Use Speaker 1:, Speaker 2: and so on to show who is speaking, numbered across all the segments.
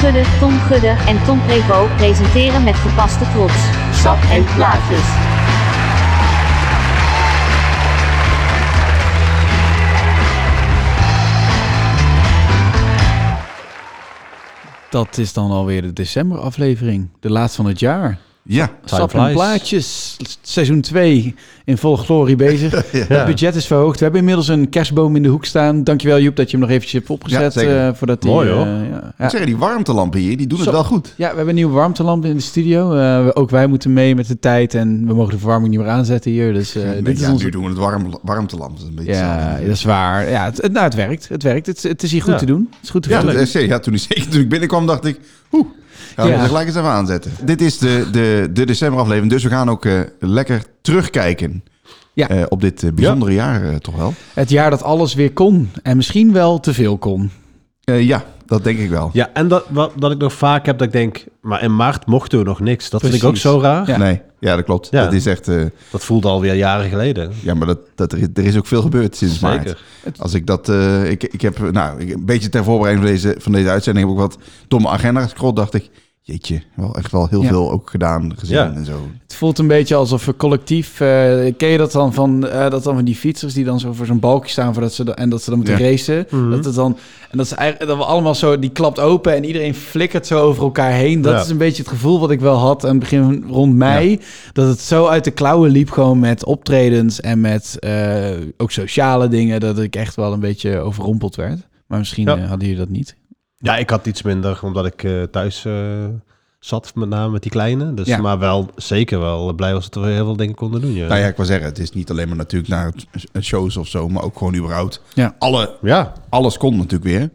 Speaker 1: Gudde, Tom Gudde en Tom Prevo presenteren met gepaste trots. Sap en plaatjes.
Speaker 2: Dat is dan alweer de decemberaflevering. De laatste van het jaar.
Speaker 3: Ja,
Speaker 2: Sap en
Speaker 4: flies.
Speaker 2: plaatjes. Seizoen 2 in volle glorie bezig. Het budget is verhoogd. We hebben inmiddels een kerstboom in de hoek staan. Dankjewel Joep dat je hem nog eventjes hebt opgezet.
Speaker 3: Ja, zeker.
Speaker 2: eh, voordat die,
Speaker 4: Mooi, hoor.
Speaker 2: eh, ja.
Speaker 3: Ik
Speaker 2: Ja.
Speaker 3: zeg, die warmtelampen hier, die doen
Speaker 2: Zo. Eh,
Speaker 3: het wel goed.
Speaker 2: Ja, we hebben een nieuwe warmtelamp in de studio. Eh, we- ook wij moeten mee met de tijd en we mogen de verwarming niet meer aanzetten hier. Dus eh,
Speaker 3: Nee,
Speaker 2: dit is
Speaker 3: ja,
Speaker 2: onze...
Speaker 3: nu doen we het warm, warmtelamp. Dat is een beetje
Speaker 2: Ja,
Speaker 3: saai.
Speaker 2: dat is waar. Ja, het, het- nou, het werkt. Het werkt. Het, het is hier goed
Speaker 4: Ja.
Speaker 2: te doen. Het is goed te
Speaker 3: Ja,
Speaker 2: doen.
Speaker 3: toen, eh, ja, toen, ik, zeker toen ik binnenkwam dacht ik, oeh, gaan we
Speaker 2: Ja.
Speaker 3: ze gelijk eens even aanzetten. Dit is de, de, de decemberaflevering, dus we gaan ook eh, lekker terugkijken
Speaker 2: Ja.
Speaker 3: eh, op dit eh, bijzondere jaar eh, toch wel.
Speaker 2: Het jaar dat alles weer kon. En misschien wel te veel kon.
Speaker 3: Eh, ja, dat denk ik wel.
Speaker 4: Ja, en dat, wat, dat ik nog vaak heb dat ik denk, maar in maart mochten we nog niks. Dat vind ik
Speaker 2: Precies.
Speaker 4: ook zo raar.
Speaker 2: Ja.
Speaker 3: Nee, ja, dat klopt.
Speaker 4: Ja.
Speaker 3: Dat is echt, eh,
Speaker 4: Dat voelde alweer jaren geleden.
Speaker 3: ja, maar dat, dat, er, is- er is ook veel gebeurd sinds maart.
Speaker 4: Zeker.
Speaker 3: Als ik dat, eh, ik, ik heb, nou, ik- een beetje ter voorbereiding van deze, van deze uitzending heb ik ook wat domme agenda gescrollt, dacht ik. Jeetje, wel echt wel heel
Speaker 2: Ja.
Speaker 3: veel ook gedaan, gezien
Speaker 4: Ja.
Speaker 3: en zo.
Speaker 2: Het voelt een beetje alsof we collectief... eh, ken je dat dan van, eh, dat dan van die fietsers die dan zo voor zo'n balkje staan... Voordat ze dan- en dat ze dan moeten
Speaker 3: Ja.
Speaker 2: racen?
Speaker 4: Mhm.
Speaker 2: Dat het dan, en dat, is eigenlijk, dat we allemaal zo... Die klapt open en iedereen flikkert zo over elkaar heen. Dat
Speaker 4: Ja.
Speaker 2: is een beetje het gevoel wat ik wel had aan het begin rond mei. Dat het zo uit de klauwen liep gewoon met optredens... en met eh, ook sociale dingen. Dat ik echt wel een beetje overrompeld werd. Maar misschien
Speaker 4: Ja.
Speaker 2: eh, hadden jullie dat niet.
Speaker 4: Ja, ik had iets minder, omdat ik eh, thuis eh, zat, met name met die kleine. Dus,
Speaker 2: Ja.
Speaker 4: Maar wel, zeker wel blij was dat we heel veel dingen konden doen. Ja,
Speaker 3: Nou ja, ik wil zeggen, het is niet alleen maar natuurlijk naar het- het shows of zo, maar ook gewoon überhaupt.
Speaker 2: Ja.
Speaker 3: Alle,
Speaker 4: ja.
Speaker 3: alles kon natuurlijk weer.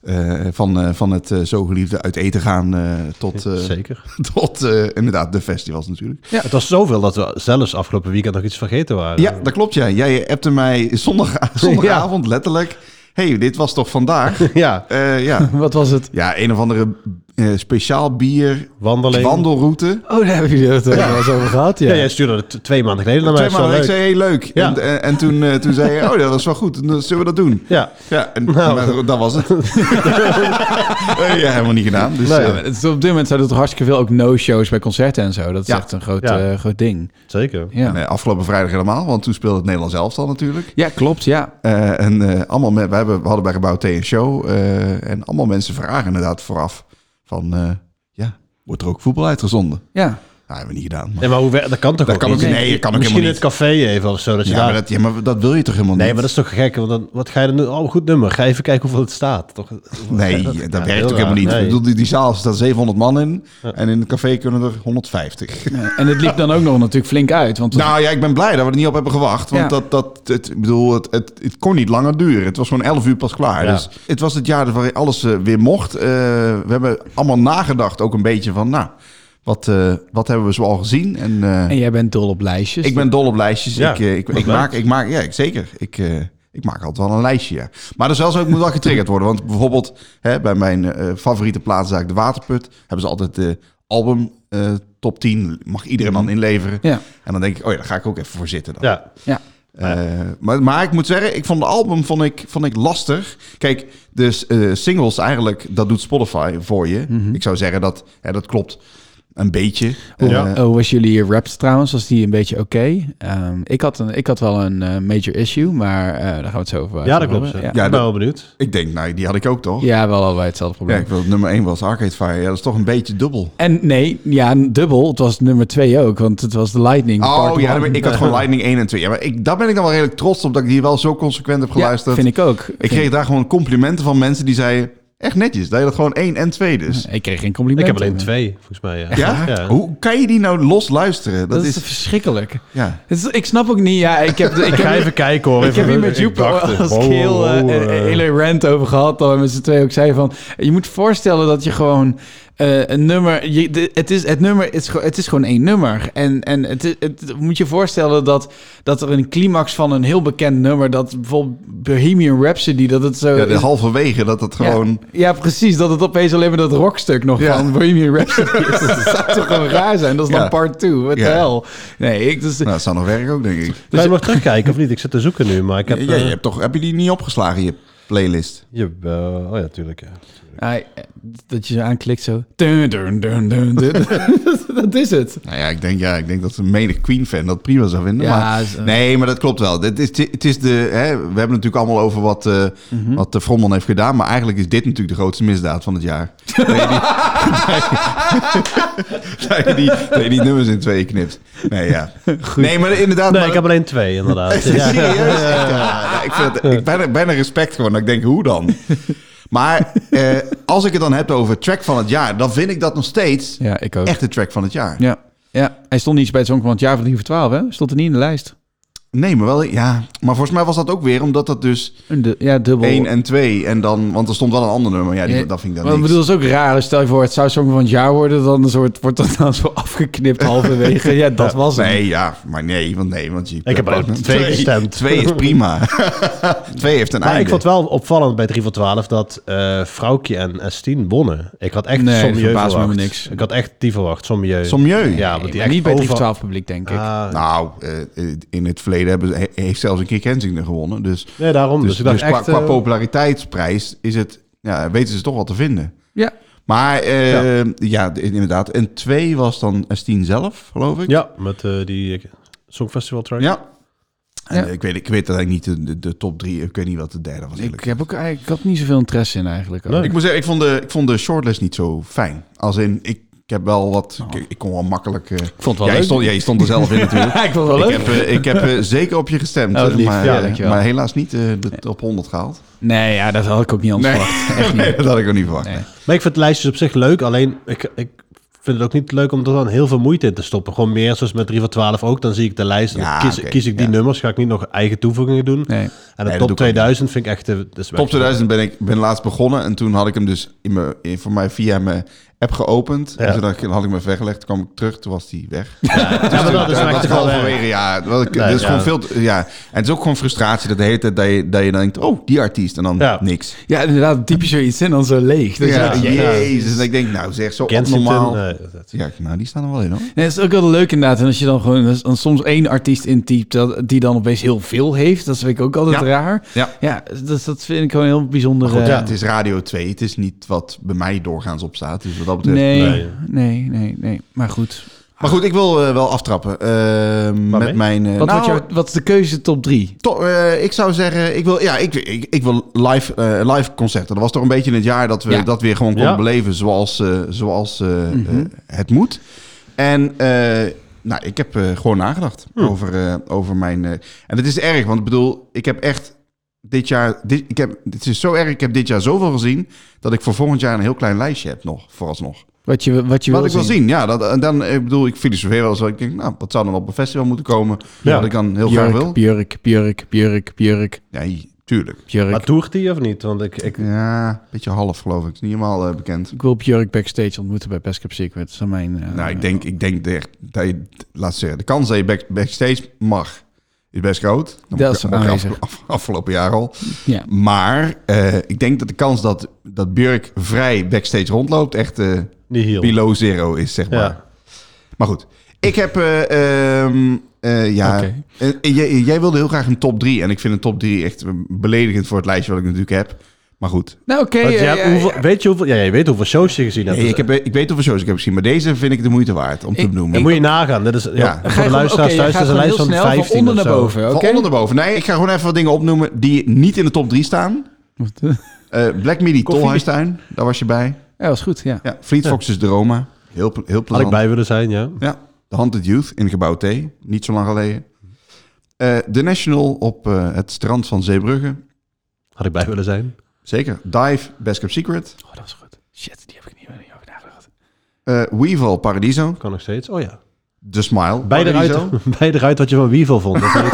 Speaker 3: Eh, van, eh, van het eh, zo geliefde uit eten gaan eh, tot, eh,
Speaker 4: zeker.
Speaker 3: tot eh, inderdaad de festivals natuurlijk.
Speaker 4: Het was zoveel dat we zelfs afgelopen weekend nog iets vergeten waren.
Speaker 3: Ja, dat klopt. Ja. Jij appte mij zondag, zondagavond letterlijk. hey, dit was toch vandaag?
Speaker 4: ja.
Speaker 3: Eh, ja.
Speaker 2: Wat was het?
Speaker 3: ja, een of andere eh, speciaal bier
Speaker 4: Wandeling.
Speaker 3: wandelroute.
Speaker 2: Oh, daar hebben jullie het eh, wel eens over gehad, ja.
Speaker 4: Ja, jij stuurde het t- twee maanden geleden naar mij.
Speaker 3: Twee
Speaker 4: Dat is
Speaker 3: maanden, ik
Speaker 4: wel
Speaker 3: zei,
Speaker 4: leuk.
Speaker 3: hey, leuk.
Speaker 4: Ja.
Speaker 3: En, en, en toen, eh, toen zei je, oh, dat was wel goed. Dan zullen we dat doen?
Speaker 4: Ja.
Speaker 3: Ja, en
Speaker 4: Nou.
Speaker 3: maar dat was het. Eh, ja, helemaal niet gedaan. Dus,
Speaker 4: Nee.
Speaker 3: eh,
Speaker 2: Ja, maar het is op dit moment zijn het hartstikke veel ook no-shows bij concerten en zo. Dat is
Speaker 3: Ja.
Speaker 2: echt een groot,
Speaker 4: Ja.
Speaker 2: eh, groot ding.
Speaker 4: Zeker.
Speaker 2: Ja.
Speaker 3: nee, afgelopen vrijdag helemaal, want toen speelde het Nederlands elftal natuurlijk.
Speaker 2: ja, klopt. Ja.
Speaker 3: Eh, en eh, allemaal met, we, hebben, we hadden bij Gebouw T een show. eh, en allemaal mensen vragen inderdaad vooraf van, eh, ja, wordt er ook voetbal uitgezonden?
Speaker 2: Ja.
Speaker 3: Nou, hebben we niet gedaan. Maar,
Speaker 4: Ja, maar hoe, wer- dat kan toch
Speaker 3: Dat
Speaker 4: ook
Speaker 3: kan ook
Speaker 4: niet?
Speaker 3: niet. Nee, dat kan ook
Speaker 4: Misschien in
Speaker 3: helemaal
Speaker 4: het café even of zo. Dat je
Speaker 3: ja,
Speaker 4: daar...
Speaker 3: maar dat, ja, maar dat wil je toch helemaal
Speaker 4: Nee,
Speaker 3: niet?
Speaker 4: maar dat is toch gek? Want dan, wat ga je dan doen? Oh, goed nummer. Ga even kijken hoeveel het staat. Toch?
Speaker 3: Nee, dat,
Speaker 4: ja, heel
Speaker 3: werkt ook
Speaker 4: raar.
Speaker 3: helemaal niet.
Speaker 4: Nee.
Speaker 3: Ik bedoel, die, die zaal staan 700 man in. En in het café kunnen er 150.
Speaker 2: Ja. En het liep dan ook nog natuurlijk flink uit. Want
Speaker 3: Nou ja, ik ben blij dat we er niet op hebben gewacht. Want
Speaker 2: Ja.
Speaker 3: dat, dat, het, ik bedoel, het, het, het kon niet langer duren. Het was gewoon 11 uur pas klaar.
Speaker 4: Ja.
Speaker 3: Dus het was het jaar waarin alles eh, weer mocht. Eh, we hebben allemaal nagedacht ook een beetje van... Nou, wat, eh, wat hebben we zoal gezien? En, eh,
Speaker 2: en jij bent dol op lijstjes.
Speaker 3: ik ben dol op lijstjes.
Speaker 4: Ja,
Speaker 3: ik, eh, ik,
Speaker 4: wat
Speaker 3: ik
Speaker 4: leuk.
Speaker 3: maak, ik maak, ja, ik, zeker. Ik, eh, ik maak altijd wel een lijstje, ja. Maar er zelfs ook moet wel getriggerd worden. Want bijvoorbeeld hè, bij mijn eh, favoriete plaatszaak, de Waterput, hebben ze altijd de album eh, top 10. Mag iedereen dan inleveren.
Speaker 2: Ja.
Speaker 3: En dan denk ik, oh ja, daar ga ik ook even voor zitten dan.
Speaker 4: Ja,
Speaker 2: Ja.
Speaker 3: Eh, maar, maar ik moet zeggen, ik vond de album vond ik, vond ik lastig. Kijk, dus eh, singles eigenlijk, dat doet Spotify voor je. Ik zou zeggen dat, hè, dat klopt een beetje.
Speaker 2: Hoe,
Speaker 3: Eh,
Speaker 2: oh, was jullie raps trouwens? Was die een beetje oké? Ehm, ik, had een, ik had wel een eh, major issue, maar eh, daar gaan we het zo over
Speaker 4: ja dat
Speaker 2: over
Speaker 4: klopt. Ja.
Speaker 2: hebben.
Speaker 4: ik ben
Speaker 3: dat-
Speaker 4: wel benieuwd.
Speaker 3: ik denk, nou, die had ik ook toch?
Speaker 2: Ja. ja, wel allebei hetzelfde
Speaker 3: Ja,
Speaker 2: probleem.
Speaker 3: ik wil nummer 1 was Arcade Fire. Ja, dat is toch een beetje dubbel.
Speaker 2: En nee, ja, dubbel. Het was nummer twee ook, want het was de Lightning.
Speaker 3: Oh
Speaker 2: part
Speaker 3: ja,
Speaker 2: one.
Speaker 3: ik had gewoon Lightning 1 en 2. Ja, maar ik, daar ben ik dan wel redelijk trots op dat ik hier wel zo consequent heb
Speaker 2: Ja,
Speaker 3: geluisterd.
Speaker 2: vind ik ook.
Speaker 3: ik kreeg daar gewoon complimenten van mensen die zeiden, echt netjes, dat je dat gewoon 1 en 2 dus.
Speaker 2: ik kreeg geen compliment.
Speaker 4: Ik heb alleen twee, volgens mij. Ja?
Speaker 3: Ja? Hoe kan je die nou los luisteren? Dat,
Speaker 2: Dat,
Speaker 3: is,
Speaker 2: is verschrikkelijk.
Speaker 3: ja.
Speaker 2: Het is- ik snap ook niet. Ja, ik heb, ik
Speaker 4: Ik ga
Speaker 2: heb,
Speaker 4: even kijken hoor.
Speaker 2: ik heb hier met Joep als keel eh, een een hele rant over gehad. Al, en met z'n twee ook zei van... Je moet voorstellen dat je gewoon eh, een nummer... Je, de- het, is, het nummer is, ge- het is gewoon één nummer. En, en het, is- het, moet je voorstellen dat, dat er een climax van een heel bekend nummer... Dat bijvoorbeeld Bohemian Rhapsody, dat het zo...
Speaker 3: ja, de
Speaker 2: is-
Speaker 3: halverwege dat het
Speaker 2: ja,
Speaker 3: gewoon... Nou,
Speaker 2: ja, precies. Dat het opeens alleen maar dat rockstuk nog
Speaker 3: Ja.
Speaker 2: van Bohemian Rhapsody is. Dat zou toch gewoon raar zijn? Dat is
Speaker 3: Ja.
Speaker 2: dan part 2. Wat
Speaker 3: Ja.
Speaker 2: de hel? Nee, ik... Dus,
Speaker 3: Nou, dat zou nog werken ook, denk ik.
Speaker 4: Dus je mag terugkijken of niet? Ik zit te zoeken nu, maar ik heb...
Speaker 3: Ja, je
Speaker 4: eh,
Speaker 3: hebt toch, heb je die niet opgeslagen, je playlist.
Speaker 4: Jawel. Oh ja, tuurlijk. Ja.
Speaker 2: Hij- dat je zo aanklikt zo. Dun, dun, dun, dun, dun. dat is het.
Speaker 3: Nou ja, ik denk, ja, ik denk dat een menig Queen-fan dat prima zou vinden.
Speaker 2: Ja,
Speaker 3: maar,
Speaker 4: eh,
Speaker 2: zo.
Speaker 3: nee, maar dat klopt wel. Dit is, het is de, hè, we hebben het natuurlijk allemaal over wat, eh
Speaker 4: Mhm.
Speaker 3: wat de Vromman heeft gedaan. Maar eigenlijk is dit natuurlijk de grootste misdaad van het jaar. dat, je die, dat, je die, dat je die nummers in twee knipt. Nee, ja. nee maar inderdaad.
Speaker 4: Nee,
Speaker 3: maar-
Speaker 4: ik heb alleen twee inderdaad. ja.
Speaker 3: Serieus? Echt, ja. Ja, ik vind het, ik ben, ben er respect gewoon. dat Ik denk, hoe dan? Maar eh, als ik het dan heb over track van het jaar, dan vind ik dat nog steeds
Speaker 2: Ja, ik ook.
Speaker 3: echt de track van het jaar.
Speaker 2: Ja. ja. Hij stond niet eens bij het Song van het jaar van 3 voor 12, hè? Stond er niet in de lijst.
Speaker 3: Nee, maar wel, ja. Maar volgens mij was dat ook weer omdat dat dus
Speaker 2: Een du- ja, dubbel.
Speaker 3: 1 en 2 en dan, want er stond wel een ander nummer. Ja, die,
Speaker 2: Ja,
Speaker 3: dat vind ik dan
Speaker 2: Maar ik
Speaker 3: niks.
Speaker 2: bedoel, dat is ook raar. Stel je voor, het zou Song van het jaar worden, dan een soort, wordt dat dan zo afgeknipt halverwege. Ja, dat was het.
Speaker 3: Nee, ja, maar nee, want nee, want je...
Speaker 4: Ik heb alleen op twee gestemd.
Speaker 3: Twee is prima. twee heeft een
Speaker 4: Maar
Speaker 3: einde.
Speaker 4: ik vond het wel opvallend bij 3 voor 12 dat eh Vrouwkje en Estien wonnen. Ik had echt
Speaker 2: Nee,
Speaker 4: nee,
Speaker 2: dat
Speaker 4: Sommieu
Speaker 2: verbaast me
Speaker 4: verwacht.
Speaker 2: niks.
Speaker 4: Ik had echt die verwacht, Sommieu.
Speaker 3: Sommieu.
Speaker 4: Ja, want
Speaker 2: Nee,
Speaker 4: die
Speaker 2: maar
Speaker 4: echt
Speaker 2: niet bij 3 voor
Speaker 4: overal-
Speaker 2: 12 publiek, denk ik.
Speaker 4: Ah,
Speaker 3: Nou, eh, eh, in het verleden hebben, ze- he- heeft zelfs een keer Kensington gewonnen. Dus,
Speaker 4: nee, daarom. Dus,
Speaker 3: dus,
Speaker 4: ik dacht
Speaker 3: dus qua,
Speaker 4: echt...
Speaker 3: qua
Speaker 4: eh,
Speaker 3: populariteitsprijs is het, ja, weten ze toch wat te vinden.
Speaker 2: ja.
Speaker 3: Maar eh, ja. d- inderdaad. En twee was dan Estien zelf, geloof ik.
Speaker 4: Ja, met eh, die eh, Songfestival track.
Speaker 3: Ja. En,
Speaker 2: Ja.
Speaker 3: eh, Ik, weet, ik weet eigenlijk niet de, de, de top drie. Ik weet niet wat de derde was.
Speaker 2: Ik, Oh.
Speaker 3: Ik,
Speaker 2: heb ook, eigenlijk- ik had niet zoveel interesse in eigenlijk. ook.
Speaker 4: Nee.
Speaker 3: ik moet zeggen, ik vond, de, ik vond de shortlist niet zo fijn. Als in, ik, ik heb wel wat... Ik, ik kon wel makkelijk... eh
Speaker 2: Oh. vond het wel
Speaker 3: jij
Speaker 2: leuk.
Speaker 3: stond, jij stond er zelf in natuurlijk.
Speaker 2: ik vond het wel
Speaker 3: Ik
Speaker 2: leuk.
Speaker 3: heb, eh, ik heb eh, zeker op je gestemd,
Speaker 2: Oh,
Speaker 3: eh,
Speaker 2: wat lief.
Speaker 3: maar,
Speaker 2: Ja,
Speaker 3: eh,
Speaker 2: dankjewel.
Speaker 3: maar helaas niet eh, de top 100 gehaald.
Speaker 2: Nee, ja, dat had ik ook niet anders verwacht. Echt niet.
Speaker 3: Nee, dat had ik ook niet verwacht.
Speaker 2: Nee.
Speaker 3: nee.
Speaker 4: Maar ik vind lijstjes op zich leuk, alleen ik, ik vind het ook niet leuk om er dan heel veel moeite in te stoppen. Gewoon meer zoals met 3 van 12 ook, dan zie ik de lijst en
Speaker 3: Ja,
Speaker 4: kies,
Speaker 3: oké,
Speaker 4: kies ik die
Speaker 3: ja.
Speaker 4: nummers, ga ik niet nog eigen toevoegingen doen.
Speaker 2: Nee.
Speaker 4: En de
Speaker 3: Nee, dat doe ik ook
Speaker 4: top
Speaker 3: niet.
Speaker 4: 2000 vind ik echt... eh, dat is
Speaker 3: Top 2000 ben ik ben laatst begonnen en toen had ik hem dus in mijn, in, voor mij via mijn app geopend.
Speaker 4: Ja.
Speaker 3: En toen had ik- dan had ik hem even weggelegd, toen kwam ik terug, toen was die weg.
Speaker 4: Ja, maar dat is
Speaker 3: Ja,
Speaker 4: echt
Speaker 3: was
Speaker 4: te veel werk.
Speaker 3: halverwege, ja. Dat was-
Speaker 4: Nee,
Speaker 3: dat is
Speaker 4: ja.
Speaker 3: gewoon veel te- ja. En het is ook gewoon frustratie dat de hele tijd dat je, dat je dan denkt, oh, die artiest. En dan
Speaker 4: Ja.
Speaker 3: niks.
Speaker 2: Ja, inderdaad, typisch zoiets en dan zo leeg. Dus- Dat is
Speaker 3: ja,
Speaker 2: echt-
Speaker 4: ja.
Speaker 3: jezus. En ik denk, nou zeg, zo
Speaker 4: Kensington. eh.
Speaker 3: abnormaal.
Speaker 4: nee, dat-
Speaker 3: Ja, nou, die staan er wel in, hoor.
Speaker 2: Nee, dat is ook wel leuk inderdaad. En als je dan gewoon als dan soms één artiest intypt dat- die dan opeens heel veel heeft, dat vind ik ook altijd
Speaker 3: Ja.
Speaker 2: raar.
Speaker 3: Ja.
Speaker 2: Ja, dat, dat vind ik gewoon heel bijzonder.
Speaker 3: Goed,
Speaker 2: eh,
Speaker 3: ja, het is Radio 2. Het is niet wat bij mij doorgaans op staat. Dus wat dat betreft...
Speaker 2: nee, nee,
Speaker 4: Nee.
Speaker 2: nee, nee, Maar goed.
Speaker 3: Maar goed, ik wil eh, wel aftrappen eh, met mijn... eh,
Speaker 2: Wat,
Speaker 3: nou,
Speaker 2: wordt jouw- wat is de keuze top drie?
Speaker 3: To- eh, ik zou zeggen, ik wil, ja, ik, ik, ik wil live, eh, live concerten. Dat was toch een beetje in het jaar dat we
Speaker 2: Ja.
Speaker 3: dat weer gewoon konden
Speaker 4: Ja.
Speaker 3: beleven zoals, eh, zoals eh, eh, het moet. En eh, nou, ik heb eh, gewoon nagedacht over, eh, over mijn... eh, en het is erg, want ik bedoel, ik heb echt dit jaar... Dit, ik heb, dit is zo erg, ik heb dit jaar zoveel gezien... dat ik voor volgend jaar een heel klein lijstje heb nog, vooralsnog.
Speaker 2: Wat je, wat je
Speaker 3: Wat
Speaker 2: wil
Speaker 3: ik wil zien, ja. Dat, en dan, ik bedoel, ik filosofeer wel eens. Ik denk, nou, wat zou dan op een festival moeten komen?
Speaker 4: Ja.
Speaker 3: Wat ik dan heel graag
Speaker 2: Björk,
Speaker 3: wil.
Speaker 2: Björk, Björk, Björk, Björk,
Speaker 3: Nee, tuurlijk.
Speaker 2: Björk.
Speaker 4: Maar toert die of niet? Want ik, ik,
Speaker 3: Ja, eh, een beetje half geloof ik. Het is niet helemaal eh, bekend.
Speaker 2: Ik wil Björk backstage ontmoeten bij Best Cup Secret. Dat is mijn... eh,
Speaker 3: nou, ik denk, ik denk echt dat je, laat ik zeggen, de kans dat je back- backstage mag is best groot.
Speaker 2: Dat is
Speaker 3: je
Speaker 2: aanwezig.
Speaker 3: af- af- afgelopen jaar al.
Speaker 2: Ja.
Speaker 3: Maar eh, ik denk dat de kans dat, dat Björk vrij backstage rondloopt echt eh,
Speaker 4: niet heel.
Speaker 3: below zero is, zeg maar.
Speaker 4: Ja.
Speaker 3: Maar goed, ik heb, eh, ehm, eh, ja,
Speaker 2: Oké.
Speaker 3: eh, jij, jij wilde heel graag een top 3. En ik vind een top 3 echt eh, beledigend voor het lijstje wat ik natuurlijk heb. Maar goed,
Speaker 2: Nou, oké.
Speaker 4: Want je
Speaker 2: ja,
Speaker 4: hebt
Speaker 2: ja,
Speaker 4: hoeveel-
Speaker 2: ja.
Speaker 4: Weet je hoeveel... Ja, je weet hoeveel shows je gezien hebt. dus
Speaker 3: Nee, ik, heb, ik weet hoeveel shows ik heb gezien, maar deze vind ik de moeite waard om te
Speaker 2: Ik-
Speaker 3: benoemen.
Speaker 4: Dat moet je nagaan. Dit is, ja,
Speaker 2: Ga
Speaker 4: voor
Speaker 2: je
Speaker 4: de
Speaker 2: gewoon-
Speaker 4: luisteraars
Speaker 2: oké, jij
Speaker 4: thuis
Speaker 2: gaat
Speaker 4: is een
Speaker 2: gewoon
Speaker 4: lijst
Speaker 2: heel
Speaker 4: van
Speaker 2: snel van
Speaker 4: 15
Speaker 2: onder
Speaker 4: of
Speaker 2: naar
Speaker 4: zo.
Speaker 2: boven,
Speaker 3: Van
Speaker 2: oké?
Speaker 3: onder naar boven. Nee, ik ga gewoon even wat dingen opnoemen die niet in de top 3 staan. Eh, Black Midi,
Speaker 4: Koffie.
Speaker 3: Tolhuistuin, daar was je bij.
Speaker 2: Ja, was goed, ja.
Speaker 3: Ja, Fleet Foxes, De Roma. Heel, ple- heel
Speaker 4: Had ik
Speaker 3: plezant.
Speaker 4: bij willen zijn, ja.
Speaker 3: Ja, The Haunted Youth in gebouw T, niet zo lang geleden. Eh The National op eh, het strand van Zeebrugge.
Speaker 4: Had ik bij willen zijn.
Speaker 3: Zeker. Dive, Best Kept Secret.
Speaker 2: Oh, dat was goed. Shit, die heb ik niet meer over nagedacht.
Speaker 3: Eh Weevil, Paradiso.
Speaker 4: Kan nog steeds. Oh ja.
Speaker 3: The Smile,
Speaker 4: Bij
Speaker 3: Paradiso.
Speaker 4: eruit, bij eruit wat je van Wievel vond. of niet?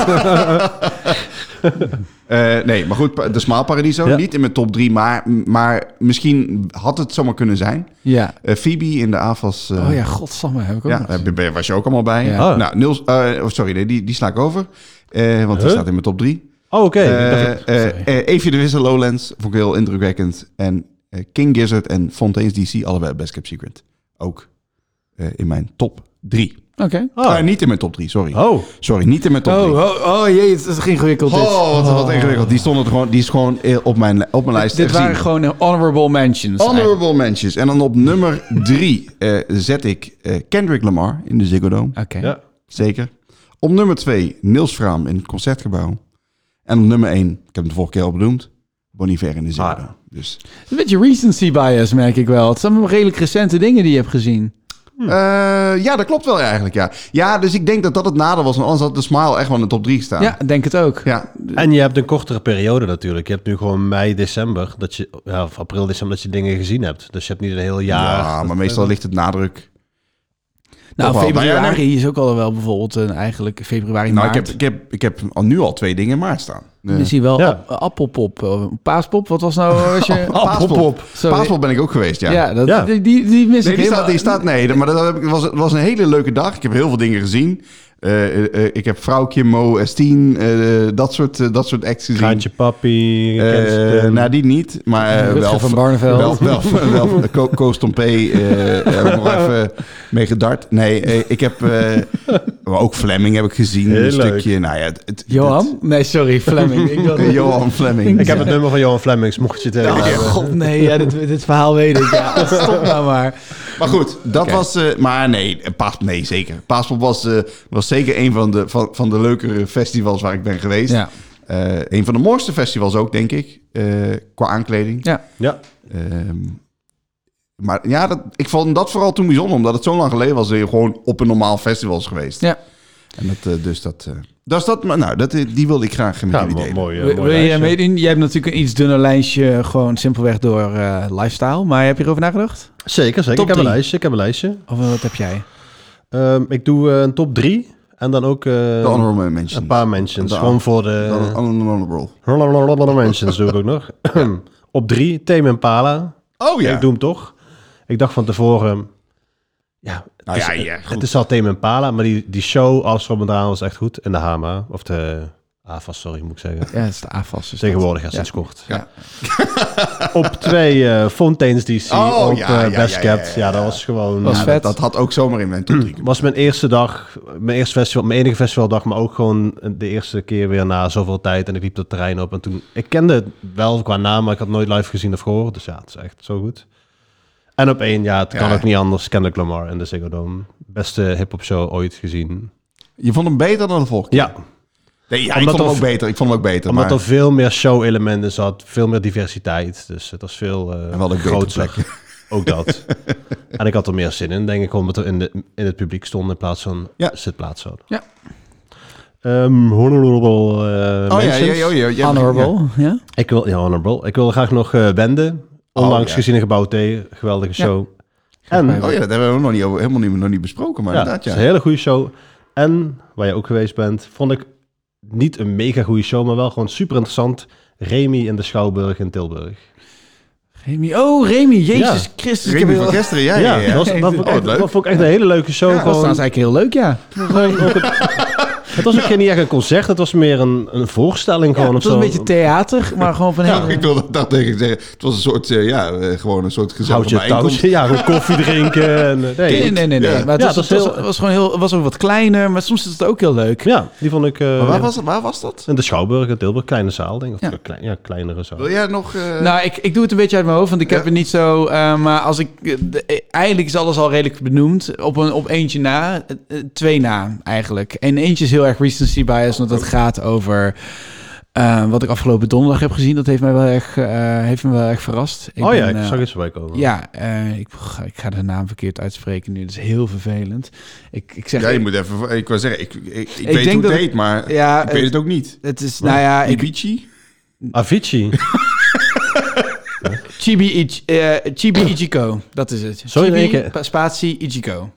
Speaker 3: Eh, nee, maar goed, pa- The Smile, Paradiso.
Speaker 4: Ja.
Speaker 3: Niet in mijn top 3, maar, maar misschien had het zomaar kunnen zijn.
Speaker 2: Ja.
Speaker 3: Eh, Phoebe in de AFAS. eh,
Speaker 2: Oh ja, godsamme, heb ik ook
Speaker 3: Ja,
Speaker 2: nog.
Speaker 3: daar ben- ben- was je ook allemaal bij.
Speaker 2: Ja.
Speaker 4: Oh.
Speaker 3: Nou, Nils, eh, oh, sorry, nee, die, die sla ik over. Eh, want die
Speaker 4: Huh?
Speaker 3: staat in mijn top 3.
Speaker 4: oh, oké.
Speaker 3: Eh, Eefje de Wissel Lowlands, vond ik heel indrukwekkend. En eh, King Gizzard en Fontaine's DC, allebei Best Kept Secret. Ook eh, in mijn top 3.
Speaker 2: Oké.
Speaker 4: Oh.
Speaker 3: Eh, niet in mijn top 3, sorry.
Speaker 4: Oh,
Speaker 3: Sorry, niet in mijn top 3.
Speaker 2: Oh, oh, oh jee, het is ingewikkeld dit.
Speaker 3: Oh, wat, wat ingewikkeld. Die, stonden er gewoon, die is gewoon eh, op mijn, op mijn lijst.
Speaker 2: dit
Speaker 3: te zien.
Speaker 2: waren gewoon eh, honorable mentions. eigenlijk.
Speaker 3: Honorable mentions. En dan op nummer drie eh, zet ik eh, Kendrick Lamar in de Ziggo Dome.
Speaker 2: Oké.
Speaker 4: ja.
Speaker 3: Zeker. Op nummer twee Niels Fraam in het Concertgebouw. En op nummer één, ik heb hem de vorige keer al benoemd, Bon Iver in de Ziggo
Speaker 4: Ah.
Speaker 3: Dome. Dus,
Speaker 2: Een beetje recency bias merk ik wel. Het zijn allemaal redelijk recente dingen die je hebt gezien.
Speaker 3: Eh, ja, dat klopt wel eigenlijk, ja. Ja, dus ik denk dat dat het nadeel was. Want anders had de Smile echt wel in de top drie gestaan.
Speaker 2: Ja, denk het ook. Nou,
Speaker 3: Ja,
Speaker 4: En je hebt een kortere periode natuurlijk. Je hebt nu gewoon mei, december, dat je, ja, of april, december, dat je dingen gezien hebt. Dus je hebt niet een heel jaar.
Speaker 3: ja maar meestal ligt het nadruk
Speaker 2: Nou,
Speaker 3: Toch wel. Maar
Speaker 2: februari is ook al wel bijvoorbeeld een, eigenlijk februari,
Speaker 3: Nou, ik
Speaker 2: maart.
Speaker 3: heb, ik, heb, ik heb al nu al twee dingen in maart staan. Eh,
Speaker 2: Misschien wel
Speaker 4: Ja.
Speaker 2: ap- appelpop, eh, paaspop. Wat was nou als je...
Speaker 3: Paaspop.
Speaker 2: Sorry.
Speaker 3: Paaspop ben ik ook geweest, ja.
Speaker 2: ja, dat,
Speaker 4: Ja.
Speaker 2: Die, die, die mis
Speaker 3: Nee,
Speaker 2: ik
Speaker 3: die
Speaker 2: helemaal.
Speaker 3: staat, die staat nee, maar dat heb ik- was, het was een hele leuke dag. Ik heb heel veel dingen gezien. Eh, eh, eh, ik heb Vrouwkje, Mo, Estien, eh, dat, soort, eh, dat soort acts gezien.
Speaker 4: Kraantje Papi,
Speaker 3: Eh,
Speaker 4: Kensington.
Speaker 3: nou, die niet, maar eh,
Speaker 2: Rutger
Speaker 3: wel...
Speaker 2: van Barneveld.
Speaker 3: Wel, wel, wel, wel- Ko- Koos Tompé eh, heb ik nog even mee gedart. Nee, eh, ik heb... eh, maar ook Fleming heb ik gezien,
Speaker 4: Heel
Speaker 3: een
Speaker 4: leuk.
Speaker 3: stukje. Nou ja, het, het-
Speaker 2: Johan? Nee, sorry, Fleming. ik dacht-
Speaker 3: het- eh, Johan Fleming.
Speaker 4: ik heb het nummer van Johan Flemings, mocht je het hebben.
Speaker 2: Oh, god, nee, ja, dit, dit verhaal weet ik. Ja, stop nou maar.
Speaker 3: Maar goed, dat
Speaker 2: Oké.
Speaker 3: was. eh, maar nee, eh, Paas, nee, zeker. Paaspop was, eh, was zeker een van de, van, van de leukere festivals waar ik ben geweest.
Speaker 2: Ja.
Speaker 3: Eh, een van de mooiste festivals ook, denk ik. eh, qua aankleding.
Speaker 2: Ja.
Speaker 4: Ja,
Speaker 3: Ehm, maar ja, dat, ik vond dat vooral toen bijzonder, omdat het zo lang geleden was dat je gewoon op een normaal festival is geweest.
Speaker 2: Ja.
Speaker 3: En dat, eh, dus dat. eh, dat is dat, maar nou, dat, eh, die wilde ik graag met
Speaker 4: ja
Speaker 3: jullie
Speaker 4: mooi,
Speaker 3: delen.
Speaker 4: mooi, eh,
Speaker 2: Wil-
Speaker 4: mooi
Speaker 2: wil je
Speaker 4: lijstje.
Speaker 2: meedoen? Jij hebt natuurlijk een iets dunner lijstje, gewoon simpelweg door eh, lifestyle. Maar heb je erover nagedacht?
Speaker 4: Zeker, zeker.
Speaker 2: Top
Speaker 4: Ik heb een
Speaker 2: drie.
Speaker 4: lijstje, ik heb een lijstje.
Speaker 2: Of eh, wat heb jij?
Speaker 4: Ehm, ik doe eh, een top 3 en dan ook eh,
Speaker 3: De honorable mentions.
Speaker 4: een paar eh, mentions.
Speaker 3: De-
Speaker 4: gewoon voor
Speaker 3: De
Speaker 4: de...
Speaker 3: honorable.
Speaker 4: Honorable mentions doe ik ook nog. Op 3, Tame Impala.
Speaker 3: Oh ja.
Speaker 4: Ik doe hem toch. Ik dacht van tevoren... Ja, het,
Speaker 3: Nou
Speaker 4: is,
Speaker 3: ja, ja, goed.
Speaker 4: het is al Tame Impala, maar die, die show, alles erop en eraan, was echt goed. En de Hama, of de AFAS, sorry, moet ik zeggen.
Speaker 2: Ja, het is de AFAS. Dus
Speaker 4: Tegenwoordig, ja,
Speaker 2: Ja.
Speaker 4: sinds kort.
Speaker 3: Ja.
Speaker 4: op twee eh Fontaines DC,
Speaker 3: Oh,
Speaker 4: op
Speaker 3: ja,
Speaker 4: eh,
Speaker 3: ja, ja,
Speaker 4: Best
Speaker 3: ja,
Speaker 4: Kept.
Speaker 3: ja,
Speaker 4: Ja,
Speaker 3: ja.
Speaker 4: dat was gewoon...
Speaker 2: Was
Speaker 4: ja,
Speaker 3: Ja,
Speaker 2: vet.
Speaker 3: dat, dat had ook zomaar in mijn top drie
Speaker 4: was mijn eerste dag, mijn eerste festival, mijn enige festivaldag, maar ook gewoon de eerste keer weer na zoveel tijd. En ik liep dat terrein op en toen, ik kende het wel qua naam, maar ik had nooit live gezien of gehoord. Dus ja, het is echt zo goed. En op één, ja, het kan
Speaker 3: Ja.
Speaker 4: ook niet anders, Kendrick Lamar en de Ziggo Dome. Beste hip-hop show ooit gezien.
Speaker 3: Je vond hem beter dan de vorige keer?
Speaker 4: Ja,
Speaker 3: Nee, ja, ik
Speaker 4: Omdat
Speaker 3: vond hem
Speaker 4: er-
Speaker 3: ook beter. Ik vond hem ook beter.
Speaker 4: omdat
Speaker 3: maar
Speaker 4: er veel meer show-elementen zat, veel meer diversiteit. Dus het was veel eh
Speaker 3: En wel een betere
Speaker 4: groter. Ook dat. en ik had er meer zin in, denk ik, omdat we in, de, in het publiek stonden in plaats van
Speaker 3: Ja.
Speaker 4: zitplaats hadden.
Speaker 2: Ja.
Speaker 4: Ehm, honorable eh,
Speaker 3: Oh ja, ja,
Speaker 4: mentions.
Speaker 3: ja, ja, ja.
Speaker 2: Honorable, ja.
Speaker 4: Ik wil, ja, honorable. Ik wil graag nog eh Wende. Onlangs
Speaker 3: Oh, ja.
Speaker 4: gezien in Gebouw T. Geweldige
Speaker 2: Ja.
Speaker 4: show. En,
Speaker 2: bij
Speaker 3: Oh ja, dat hebben we nog niet over, helemaal niet, nog niet besproken. Maar
Speaker 4: ja, het
Speaker 3: inderdaad,
Speaker 4: is
Speaker 3: ja.
Speaker 4: een hele goede show. En, waar je ook geweest bent, vond ik niet een mega goede show, maar wel gewoon super interessant. Remy in de Schouwburg in Tilburg.
Speaker 2: Remy. Oh, Remy. Jezus
Speaker 4: Ja.
Speaker 2: Christus.
Speaker 3: Remy van gisteren, ja, ja, ja.
Speaker 4: Dat, was, dat, vond ik
Speaker 3: Oh,
Speaker 4: echt,
Speaker 3: leuk.
Speaker 4: dat vond ik echt een hele leuke show.
Speaker 2: Oh, Dat was
Speaker 4: gewoon,
Speaker 2: trouwens eigenlijk heel leuk, ja.
Speaker 4: gewoon ook een- het was ook geen niet echt een concert, het was meer een, een voorstelling
Speaker 2: ja
Speaker 4: gewoon
Speaker 2: het
Speaker 4: of
Speaker 2: was
Speaker 4: zo.
Speaker 2: een beetje theater, maar gewoon van
Speaker 3: Ja,
Speaker 2: hele...
Speaker 3: ik wilde dat tegen je zeggen. Het was een soort, eh, ja, eh, gewoon een soort gezellige
Speaker 4: Houtje
Speaker 3: bijeenkomst.
Speaker 4: touwtje, ja, gewoon koffie drinken. En, eh, nee.
Speaker 2: Nee, nee, nee. nee.
Speaker 3: Ja.
Speaker 2: Maar het
Speaker 4: Ja,
Speaker 2: was,
Speaker 4: dat is
Speaker 2: het was,
Speaker 4: heel-
Speaker 2: het was gewoon heel... het was ook wat kleiner, maar soms is het ook heel leuk.
Speaker 4: Ja, die vond ik... eh,
Speaker 3: Maar Waar was, waar was dat?
Speaker 4: In de Schouwburg, in Tilburg, kleine zaal, denk ik. Of
Speaker 2: Ja.
Speaker 4: klein- ja, kleinere zaal.
Speaker 3: Wil jij nog... eh,
Speaker 2: Nou, ik, ik doe het een beetje uit mijn hoofd, want ik
Speaker 3: Ja.
Speaker 2: heb het niet zo... eh, maar als ik... eh, de- eh, eigenlijk is alles al redelijk benoemd. Op, een, op eentje na, eh, eh, twee na eigenlijk. En eentje is heel erg recency bias, want dat gaat over... eh, wat ik afgelopen donderdag heb gezien, dat heeft mij wel erg, eh, heeft me wel erg verrast. Ik
Speaker 4: oh ja,
Speaker 2: ben,
Speaker 4: ik
Speaker 2: eh,
Speaker 4: zag iets voorbij komen.
Speaker 2: Ja, eh, ik, ga- ik ga de naam verkeerd uitspreken nu. Dat is heel vervelend. Ik, ik zeg...
Speaker 3: ja, je moet even... Ik wou zeggen, ik, ik, ik,
Speaker 2: denk
Speaker 3: weet hoe
Speaker 2: dat
Speaker 3: het
Speaker 2: ik-
Speaker 3: heet, maar
Speaker 2: ja,
Speaker 3: ik weet het ook niet.
Speaker 2: het is, nou ja, ik,
Speaker 3: Ibici?
Speaker 4: Avicii.
Speaker 2: Chibi, Ichi- eh, Chibi Ichiko, dat is het.
Speaker 4: Oh. Sorry,
Speaker 2: Chibi,
Speaker 4: in één keer.
Speaker 2: pa- spatie Ichiko.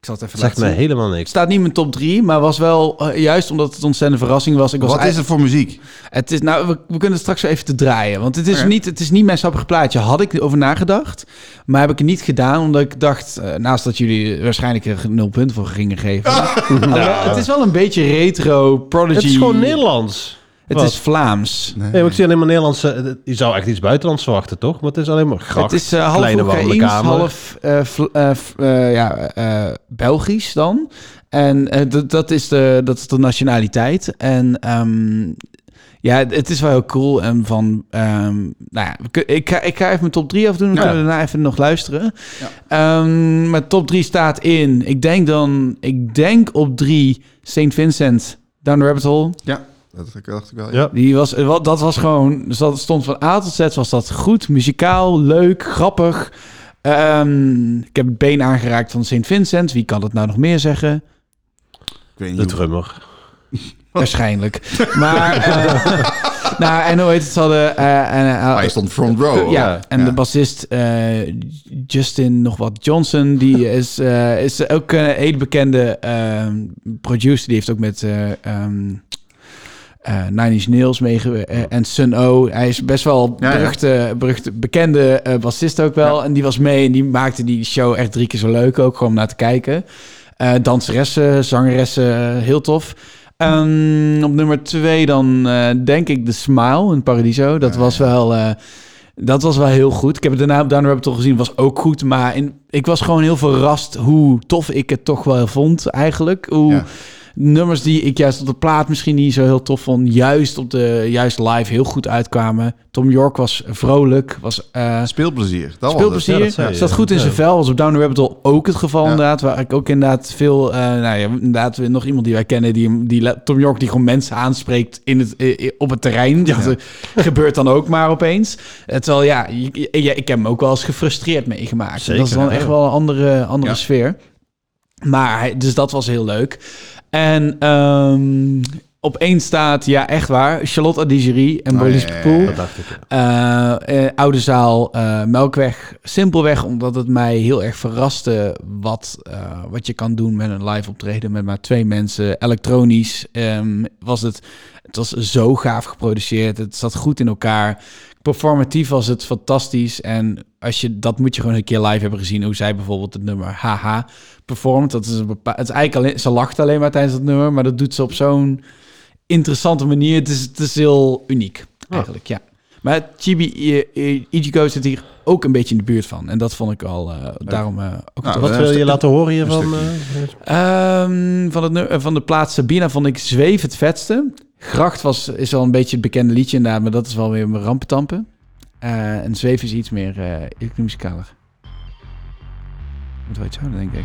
Speaker 2: Ik zal het even
Speaker 4: Zegt
Speaker 2: laten
Speaker 4: mij
Speaker 2: zien.
Speaker 4: helemaal
Speaker 2: Het
Speaker 4: niks.
Speaker 2: staat niet in mijn top 3, maar was wel, eh, juist omdat het ontzettende verrassing was. Ik was
Speaker 3: Wat is
Speaker 2: het?
Speaker 3: het voor muziek?
Speaker 2: Het is, nou, we, we kunnen het straks wel even te draaien. Want het is,
Speaker 4: Oh
Speaker 3: Oké.
Speaker 2: niet, het is niet mijn sappig plaatje. Had ik over nagedacht, maar heb ik het niet gedaan. Omdat ik dacht, eh, naast dat jullie waarschijnlijk er nul punten voor gingen geven. Alhoewel, Het is wel een beetje retro, prodigy.
Speaker 4: Het is gewoon Nederlands.
Speaker 2: Het
Speaker 4: Wat?
Speaker 2: is Vlaams.
Speaker 4: Nee, maar ik zie alleen maar Nederlandse... Je zou echt iets buitenlands verwachten, toch? Maar het is alleen maar gracht.
Speaker 2: Het is eh, half
Speaker 4: kleine warme
Speaker 2: Oekraïens,
Speaker 4: kamer.
Speaker 2: half eh, Vl- eh, v- eh, ja, eh, Belgisch dan. En eh, dat- dat, is de, dat is de nationaliteit. En ehm, ja, het- het is wel heel cool. En van, ehm, nou ja, we kun- ik ga, ik ga even mijn top 3 afdoen. Dan
Speaker 3: Ja.
Speaker 2: kunnen we daarna even nog luisteren. Ehm, mijn top 3 staat in, ik denk dan, ik denk op 3 St. Vincent Down the Rabbit Hole.
Speaker 3: Ja, dat dacht ik- dacht ik wel.
Speaker 4: Ja.
Speaker 2: Die was, eh, wat- dat was gewoon, dus dat stond van A tot Z, was dat goed, muzikaal, leuk, grappig. Ehm, ik heb het been aangeraakt van St. Vincent. Wie kan dat nou nog meer zeggen?
Speaker 3: Ik weet
Speaker 4: De
Speaker 3: niet hoe-
Speaker 4: drummer.
Speaker 2: Waarschijnlijk. maar, eh, nou, en hoe heet het, ze hadden... eh, en, eh,
Speaker 3: Hij stond front row.
Speaker 2: ja,
Speaker 3: hoor.
Speaker 2: en de bassist eh, Justin nog wat Johnson, die is, eh, is ook een hele bekende ehm, producer. Die heeft ook met eh ehm eh, Nine Inch Nails meege eh, en Sun O. Hij is best wel
Speaker 3: Ja, ja.
Speaker 2: beruchte, beruchte, bekende eh, bassist ook wel. En die was mee en die maakte die show echt drie keer zo leuk ook, gewoon om naar te kijken. Eh, danseressen, zangeressen, heel tof. Ehm, op nummer twee dan eh, denk ik de Smile in Paradiso. Dat was wel... eh, dat was wel heel goed. Ik heb het daarna op Down the Rabbit Hole gezien. was ook goed. Maar in, ik was gewoon heel verrast hoe tof ik het toch wel vond eigenlijk. Hoe
Speaker 3: Ja.
Speaker 2: nummers die ik juist op de plaat misschien niet zo heel tof vond... juist, op de, juist live heel goed uitkwamen. Tom York was vrolijk. Was, eh,
Speaker 3: Speelplezier. Dat was het.
Speaker 2: speelplezier.
Speaker 4: Ja, dat zei je.
Speaker 2: Zat goed in zijn
Speaker 4: Ja.
Speaker 2: vel. Was op Down the Rabbit Hole ook het geval
Speaker 3: Ja.
Speaker 2: inderdaad. Waar ik ook inderdaad veel... eh, nou ja, inderdaad weer nog iemand die wij kennen. Die, hem- die la- Tom York die gewoon mensen aanspreekt in het, eh, eh, op het terrein. Dat eh, gebeurt dan ook maar opeens. Eh, Terwijl ja, je- je- ja, ik heb hem ook wel eens gefrustreerd meegemaakt.
Speaker 4: Zeker,
Speaker 2: dat is dan
Speaker 4: ja.
Speaker 2: echt wel een andere, andere
Speaker 3: Ja.
Speaker 2: sfeer. Maar, hij- dus dat was heel leuk. En ehm, op één staat, ja echt waar, Charlotte Adigerie en
Speaker 3: Oh,
Speaker 2: Boris
Speaker 3: ja, ja, ja,
Speaker 2: Poel.
Speaker 3: ja.
Speaker 4: Dat dacht ik. ja.
Speaker 2: Eh, eh, oude zaal, eh, Melkweg. Simpelweg omdat het mij heel erg verraste wat, eh, wat je kan doen met een live optreden met maar twee mensen. Elektronisch ehm, was het, het was zo gaaf geproduceerd. Het zat goed in elkaar. Performatief was het fantastisch. En als je, dat moet je gewoon een keer live hebben gezien. Hoe zij bijvoorbeeld het nummer Haha performt. Dat is, een bepa- het is eigenlijk alleen, ze lacht alleen maar tijdens het nummer. Maar dat doet ze op zo'n interessante manier. Het is, het is heel uniek eigenlijk, ja. Maar Chibi eh, eh, Ichigo zit hier ook een beetje in de buurt van. En dat vond ik al eh, daarom eh, ook tof.
Speaker 3: Nou, eh,
Speaker 4: Wat wil
Speaker 3: een
Speaker 4: je
Speaker 3: stu-
Speaker 4: laten horen hiervan?
Speaker 3: een
Speaker 4: eh?
Speaker 2: Ehm, van, het, nu- eh, van de plaats Sabina vond ik Zweef het vetste. Gracht was, is al een beetje het bekende liedje inderdaad, maar dat is wel weer mijn rampetampen. Eh, en Zweef is iets meer eh muzikaler. Moet wel iets houden, denk ik.
Speaker 3: Ik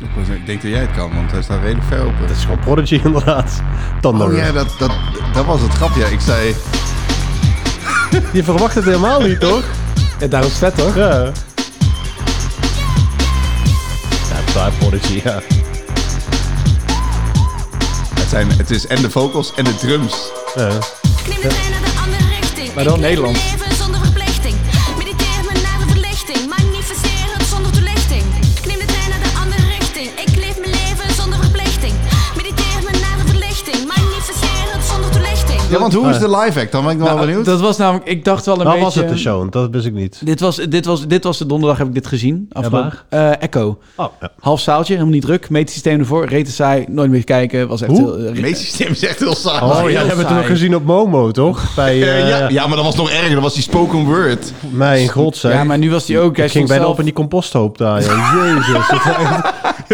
Speaker 3: wou zeggen, Ik denk dat jij het kan, want hij staat redelijk ver open.
Speaker 4: Dat is gewoon Prodigy inderdaad. Dan
Speaker 3: Oh
Speaker 4: nog.
Speaker 3: ja, dat, dat, dat was het grapje. Ik zei,
Speaker 4: Je verwacht het helemaal niet, toch?
Speaker 2: Ja, daarom is vet, toch?
Speaker 4: Ja. Ja, Type Prodigy, ja.
Speaker 3: het, zijn, het is en de vocals en de drums.
Speaker 4: ja.
Speaker 5: Neem de trein naar de andere richting.
Speaker 2: Maar dan
Speaker 5: Ik leef
Speaker 2: Nederlands.
Speaker 5: mijn leven zonder verplichting. Mediteer me naar de verlichting. Manifesteer het zonder toelichting. Ik neem de trein naar de andere richting. Ik leef mijn leven zonder verplichting. Mediteer me naar de verlichting. Manifesteer het zonder toelichting.
Speaker 3: Ja, want hoe is de live act? Dan ben ik nog wel
Speaker 2: Nou,
Speaker 3: benieuwd.
Speaker 2: dat was namelijk, ik dacht wel een
Speaker 4: Nou
Speaker 2: beetje...
Speaker 4: was het de show, dat wist ik niet.
Speaker 2: Dit was, dit, was, dit was de donderdag, heb ik dit gezien. Afgelopen, Eh, Echo.
Speaker 4: Oh, ja.
Speaker 2: Half zaaltje, helemaal niet druk. Meetsysteem ervoor, reten saai, nooit meer kijken. Was echt
Speaker 4: Hoe?
Speaker 2: heel... eh,
Speaker 3: Het meesysteem is echt Nou, heel saai.
Speaker 4: Oh,
Speaker 2: heel
Speaker 4: ja, dat hebben we toen
Speaker 2: saai.
Speaker 4: nog gezien op Momo, toch? Bij,
Speaker 3: Eh,
Speaker 4: eh,
Speaker 3: ja, ja, maar dat was nog erger. Dat was die spoken word.
Speaker 4: mij in God, zeg.
Speaker 2: ja, maar nu was die ook... Hij
Speaker 4: ik ging
Speaker 2: stond
Speaker 4: bijna
Speaker 2: zelf-
Speaker 4: op in die composthoop daar, joh. Jezus.
Speaker 3: Ja,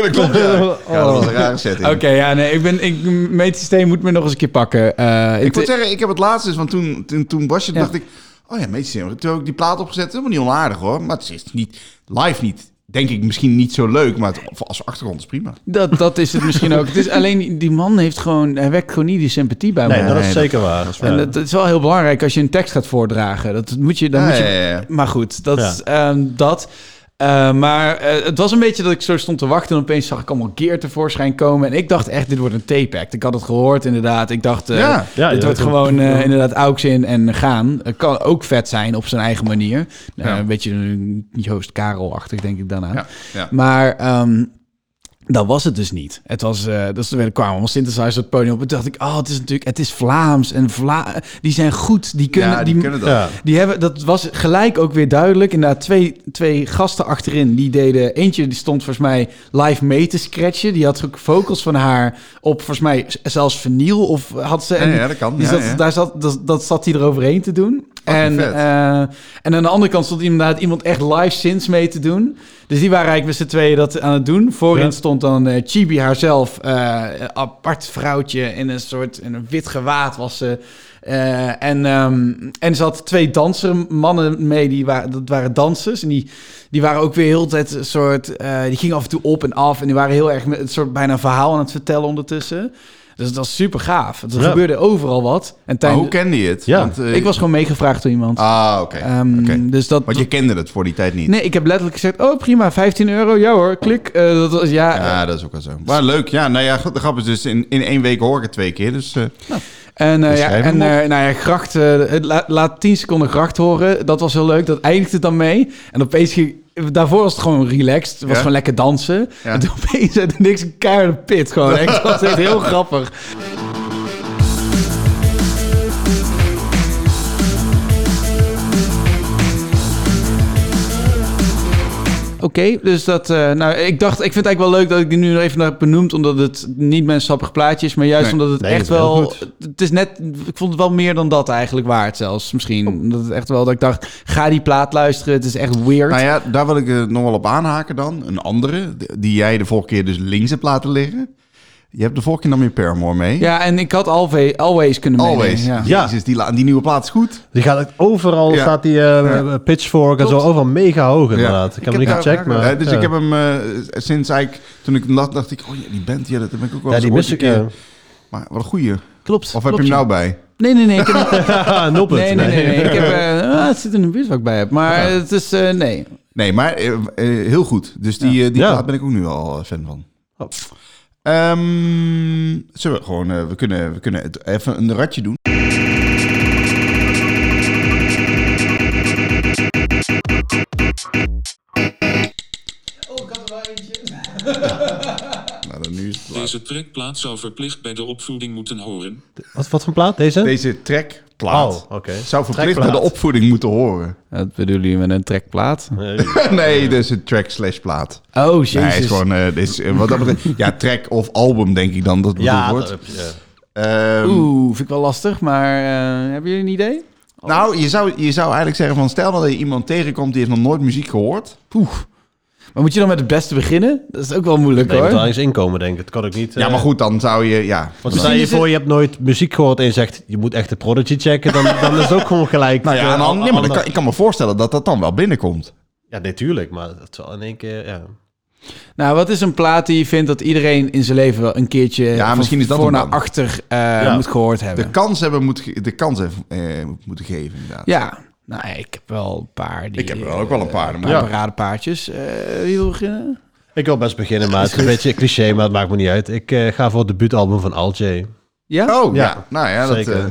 Speaker 3: dat klopt, ja. Ja, dat was een rare setting.
Speaker 2: Oké, ja, nee, ik ben, ik, meetsysteem moet me nog eens een keer pakken. Eh,
Speaker 3: Ik moet zeggen, ik heb het laatst eens, want toen, toen, toen was je,
Speaker 2: Ja.
Speaker 3: dacht ik... Oh ja, meesysteem. Toen heb ik die plaat opgezet. Helemaal niet onaardig hoor. Maar het is niet, live niet, denk ik misschien niet zo leuk. Maar het, als achtergrond is prima.
Speaker 2: dat, dat is het misschien ook. Het is alleen, die man heeft gewoon, hij wekt gewoon niet die sympathie bij
Speaker 4: Nee,
Speaker 2: me.
Speaker 4: dat
Speaker 3: dat-
Speaker 4: is zeker waar. Ja.
Speaker 2: En dat, dat is wel heel belangrijk als je een tekst gaat voordragen. Dat moet je, dan
Speaker 3: Ja,
Speaker 2: moet je,
Speaker 3: ja, ja.
Speaker 2: Maar goed, dat.
Speaker 4: Ja.
Speaker 2: is, ehm, dat. Eh, maar eh, het was een beetje dat ik zo stond te wachten en opeens zag ik allemaal gear tevoorschijn komen. En ik dacht echt, dit wordt een tape-act. Ik had het gehoord inderdaad. Ik dacht, eh,
Speaker 3: Ja.
Speaker 4: Ja,
Speaker 2: dit wordt
Speaker 4: ja, dat-
Speaker 2: gewoon eh, inderdaad auks in en gaan. Het kan ook vet zijn op zijn eigen manier. Nou,
Speaker 3: Ja.
Speaker 2: Een beetje een Joost Karel-achtig denk ik daarna.
Speaker 3: Ja, ja.
Speaker 2: Maar ehm, dat was het dus niet. Het was, eh dus er werden- kwamen allemaal synthesizers op het podium op. En toen dacht ik, oh, het is natuurlijk, het is Vlaams. En Vla die zijn goed, die kunnen...
Speaker 3: ja, die, kunnen dat.
Speaker 4: Ja.
Speaker 2: Die hebben, dat was gelijk ook weer duidelijk. Inderdaad, twee, twee gasten achterin. Die deden, eentje die stond volgens mij live mee te scratchen. Die had ook vocals van haar op, volgens mij z- zelfs verniel. Of had ze,
Speaker 3: Ja, ja, dat kan.
Speaker 2: die Dus
Speaker 3: Ja,
Speaker 2: zat,
Speaker 3: ja.
Speaker 2: Daar zat, dat, dat zat hij eroverheen te doen. En,
Speaker 3: vet.
Speaker 2: eh, en aan de andere kant stond inderdaad iemand echt live synths mee te doen. Dus die waren eigenlijk met z'n tweeën dat aan het doen. Voorin
Speaker 4: Ja.
Speaker 2: stond dan eh, Chibi haarzelf, eh, een apart vrouwtje in een soort in een wit gewaad was ze. Eh, en, ehm, en ze had twee dansermannen mee, die waren, dat waren dansers. En die, die waren ook weer heel de tijd een soort... eh, die gingen af en toe op en af. En die waren heel erg met een soort bijna een verhaal aan het vertellen ondertussen. Dus dat was super gaaf. Er
Speaker 4: Ja.
Speaker 2: gebeurde overal wat. En
Speaker 3: Maar
Speaker 2: tijdens-
Speaker 3: hoe kende je het?
Speaker 4: Ja.
Speaker 3: eh,
Speaker 2: ik was gewoon meegevraagd door iemand.
Speaker 3: Ah, oké. Oké.
Speaker 2: Ehm, Dus dat.
Speaker 3: Want je kende het voor die tijd niet.
Speaker 2: Nee, ik heb letterlijk gezegd: oh prima, 15 euro, ja hoor, klik. Eh, dat was ja.
Speaker 3: Ja, dat is ook wel zo. Maar leuk, ja. Nou ja, de grap is dus, in, in één week hoor ik het twee keer. Dus eh,
Speaker 2: En, eh,
Speaker 3: Dus
Speaker 2: ja,
Speaker 3: schrijf hem
Speaker 2: en
Speaker 3: op.
Speaker 2: eh, nou ja, gracht, eh, het la- laat 10 seconden gracht horen. Dat was heel leuk. Dat eindigt het dan mee. En opeens ging. Daarvoor was het gewoon relaxed. Het was
Speaker 3: Ja.
Speaker 2: gewoon lekker dansen.
Speaker 3: Ja.
Speaker 2: En toen opeens uit het niks een keiharde pit. Gewoon. Echt, dat was echt heel grappig. Oké, dus dat. eh, nou, ik dacht, ik vind het eigenlijk wel leuk dat ik die nu nog even heb benoemd. Omdat het niet mijn sappig plaatje is. Maar juist
Speaker 3: Nee.
Speaker 2: omdat het
Speaker 4: Nee,
Speaker 2: echt
Speaker 4: het is heel
Speaker 2: wel.
Speaker 4: goed.
Speaker 2: Het is net. Ik vond het wel meer dan dat eigenlijk waard zelfs. Misschien.
Speaker 3: Oh.
Speaker 2: Omdat het echt wel dat ik dacht. Ga die plaat luisteren. Het is echt weird.
Speaker 3: nou ja, daar wil ik eh, nog wel op aanhaken dan. Een andere, d- die jij de vorige keer dus links hebt laten liggen. Je hebt de vorige keer nam je Paramore mee.
Speaker 2: Ja, en ik had Always, always kunnen meenemen.
Speaker 3: Always.
Speaker 2: Ja.
Speaker 4: Ja.
Speaker 3: Jezus, die, la- die nieuwe plaat is goed.
Speaker 4: Die gaat overal,
Speaker 3: Ja.
Speaker 4: staat die eh, pitchfork en zo,
Speaker 2: Klopt.
Speaker 4: overal mega hoog inderdaad. Ik, heb hem niet
Speaker 3: daar-
Speaker 4: gecheckt, maar...
Speaker 3: Ja, dus
Speaker 4: ja.
Speaker 3: ik heb hem eh, sinds eigenlijk... Toen ik hem dacht, dacht ik... Oh ja, die band, ja, dat heb ik ook wel
Speaker 4: Ja,
Speaker 3: eens
Speaker 4: die
Speaker 3: ooit
Speaker 4: mis
Speaker 3: een
Speaker 4: ik.
Speaker 3: keer.
Speaker 4: eh.
Speaker 3: Maar wat een goeie. Of
Speaker 2: Klopt.
Speaker 3: heb je
Speaker 2: klopt,
Speaker 3: hem
Speaker 2: ja.
Speaker 3: nou bij?
Speaker 2: Nee, nee, nee. Ik heb,
Speaker 4: Haha, nul punt.
Speaker 2: nee, nee, nee. nee. Ik heb, eh, ah, het zit in de buurt waar ik bij heb. Maar het is... eh, nee.
Speaker 3: Nee, maar eh, eh, heel goed. Dus die, eh, die
Speaker 4: Ja.
Speaker 3: plaat ben ik ook nu al eh, fan van.
Speaker 4: Oh.
Speaker 3: Ehm, zullen we gewoon... eh, we, kunnen, we kunnen het even een ratje doen. Nou, dan nu is het klaar.
Speaker 6: Deze trekplaat zou verplicht bij de opvoeding moeten horen.
Speaker 4: Wat, wat voor plaat? Deze?
Speaker 3: Deze trackplaat
Speaker 4: Oh, oké.
Speaker 3: zou verplicht bij
Speaker 4: Trackplaat.
Speaker 3: de opvoeding moeten horen.
Speaker 2: Dat bedoelen jullie met een trekplaat?
Speaker 4: Nee.
Speaker 3: nee, dus een track slash plaat.
Speaker 2: Oh,
Speaker 3: Ja, hij is
Speaker 2: jezus.
Speaker 3: gewoon, eh, dit is, eh, wat dat betreft, ja, track of album denk ik dan dat bedoeld
Speaker 4: Ja,
Speaker 3: wordt.
Speaker 4: dat, eh, ja.
Speaker 3: Ehm,
Speaker 2: Oeh, vind ik wel lastig. Maar eh, hebben jullie een idee?
Speaker 3: nou, je zou, je zou eigenlijk zeggen van, stel nou dat je iemand tegenkomt die heeft nog nooit muziek gehoord.
Speaker 2: Poeh. Maar moet je dan met het beste beginnen? Dat is ook wel moeilijk
Speaker 4: Nee, je moet wel
Speaker 2: hoor.
Speaker 4: eens inkomen, denk ik. Dat kan ik niet.
Speaker 3: Ja,
Speaker 4: eh,
Speaker 3: maar goed, dan zou je, ja.
Speaker 4: Want stel je
Speaker 2: Misschien is
Speaker 4: voor, je hebt nooit muziek gehoord en je zegt, je moet echt de Prodigy checken, dan, dan is het ook gewoon gelijk.
Speaker 3: Nou
Speaker 4: eh,
Speaker 3: ja, en dan,
Speaker 4: al-
Speaker 3: nee, maar dat
Speaker 4: al-
Speaker 3: kan, ik kan me voorstellen dat dat dan wel binnenkomt.
Speaker 4: Ja, natuurlijk, maar het zal in één keer, ja.
Speaker 2: Nou, wat is een plaat die je vindt dat iedereen in zijn leven wel een keertje
Speaker 3: Ja,
Speaker 2: van
Speaker 3: misschien is dat
Speaker 2: voor
Speaker 3: hem
Speaker 2: naar
Speaker 3: dan.
Speaker 2: achter eh, moet gehoord hebben?
Speaker 3: De kans hebben moet, ge- de kans hebben, eh, moeten geven, inderdaad.
Speaker 2: Ja. Nou, ik heb wel een paar. Die, eh,
Speaker 3: Ik heb er ook wel een paar,
Speaker 2: Een
Speaker 3: maar-
Speaker 2: paar
Speaker 3: Ja.
Speaker 2: paradepaardjes. Eh, wie wil beginnen?
Speaker 4: Ik wil best beginnen, maar het is een beetje cliché, maar het maakt me niet uit. Ik eh, ga voor het debuutalbum van Al J.
Speaker 2: Ja?
Speaker 3: Oh, ja.
Speaker 4: Ja,
Speaker 3: Nou ja, dat...
Speaker 4: zeker.
Speaker 3: eh,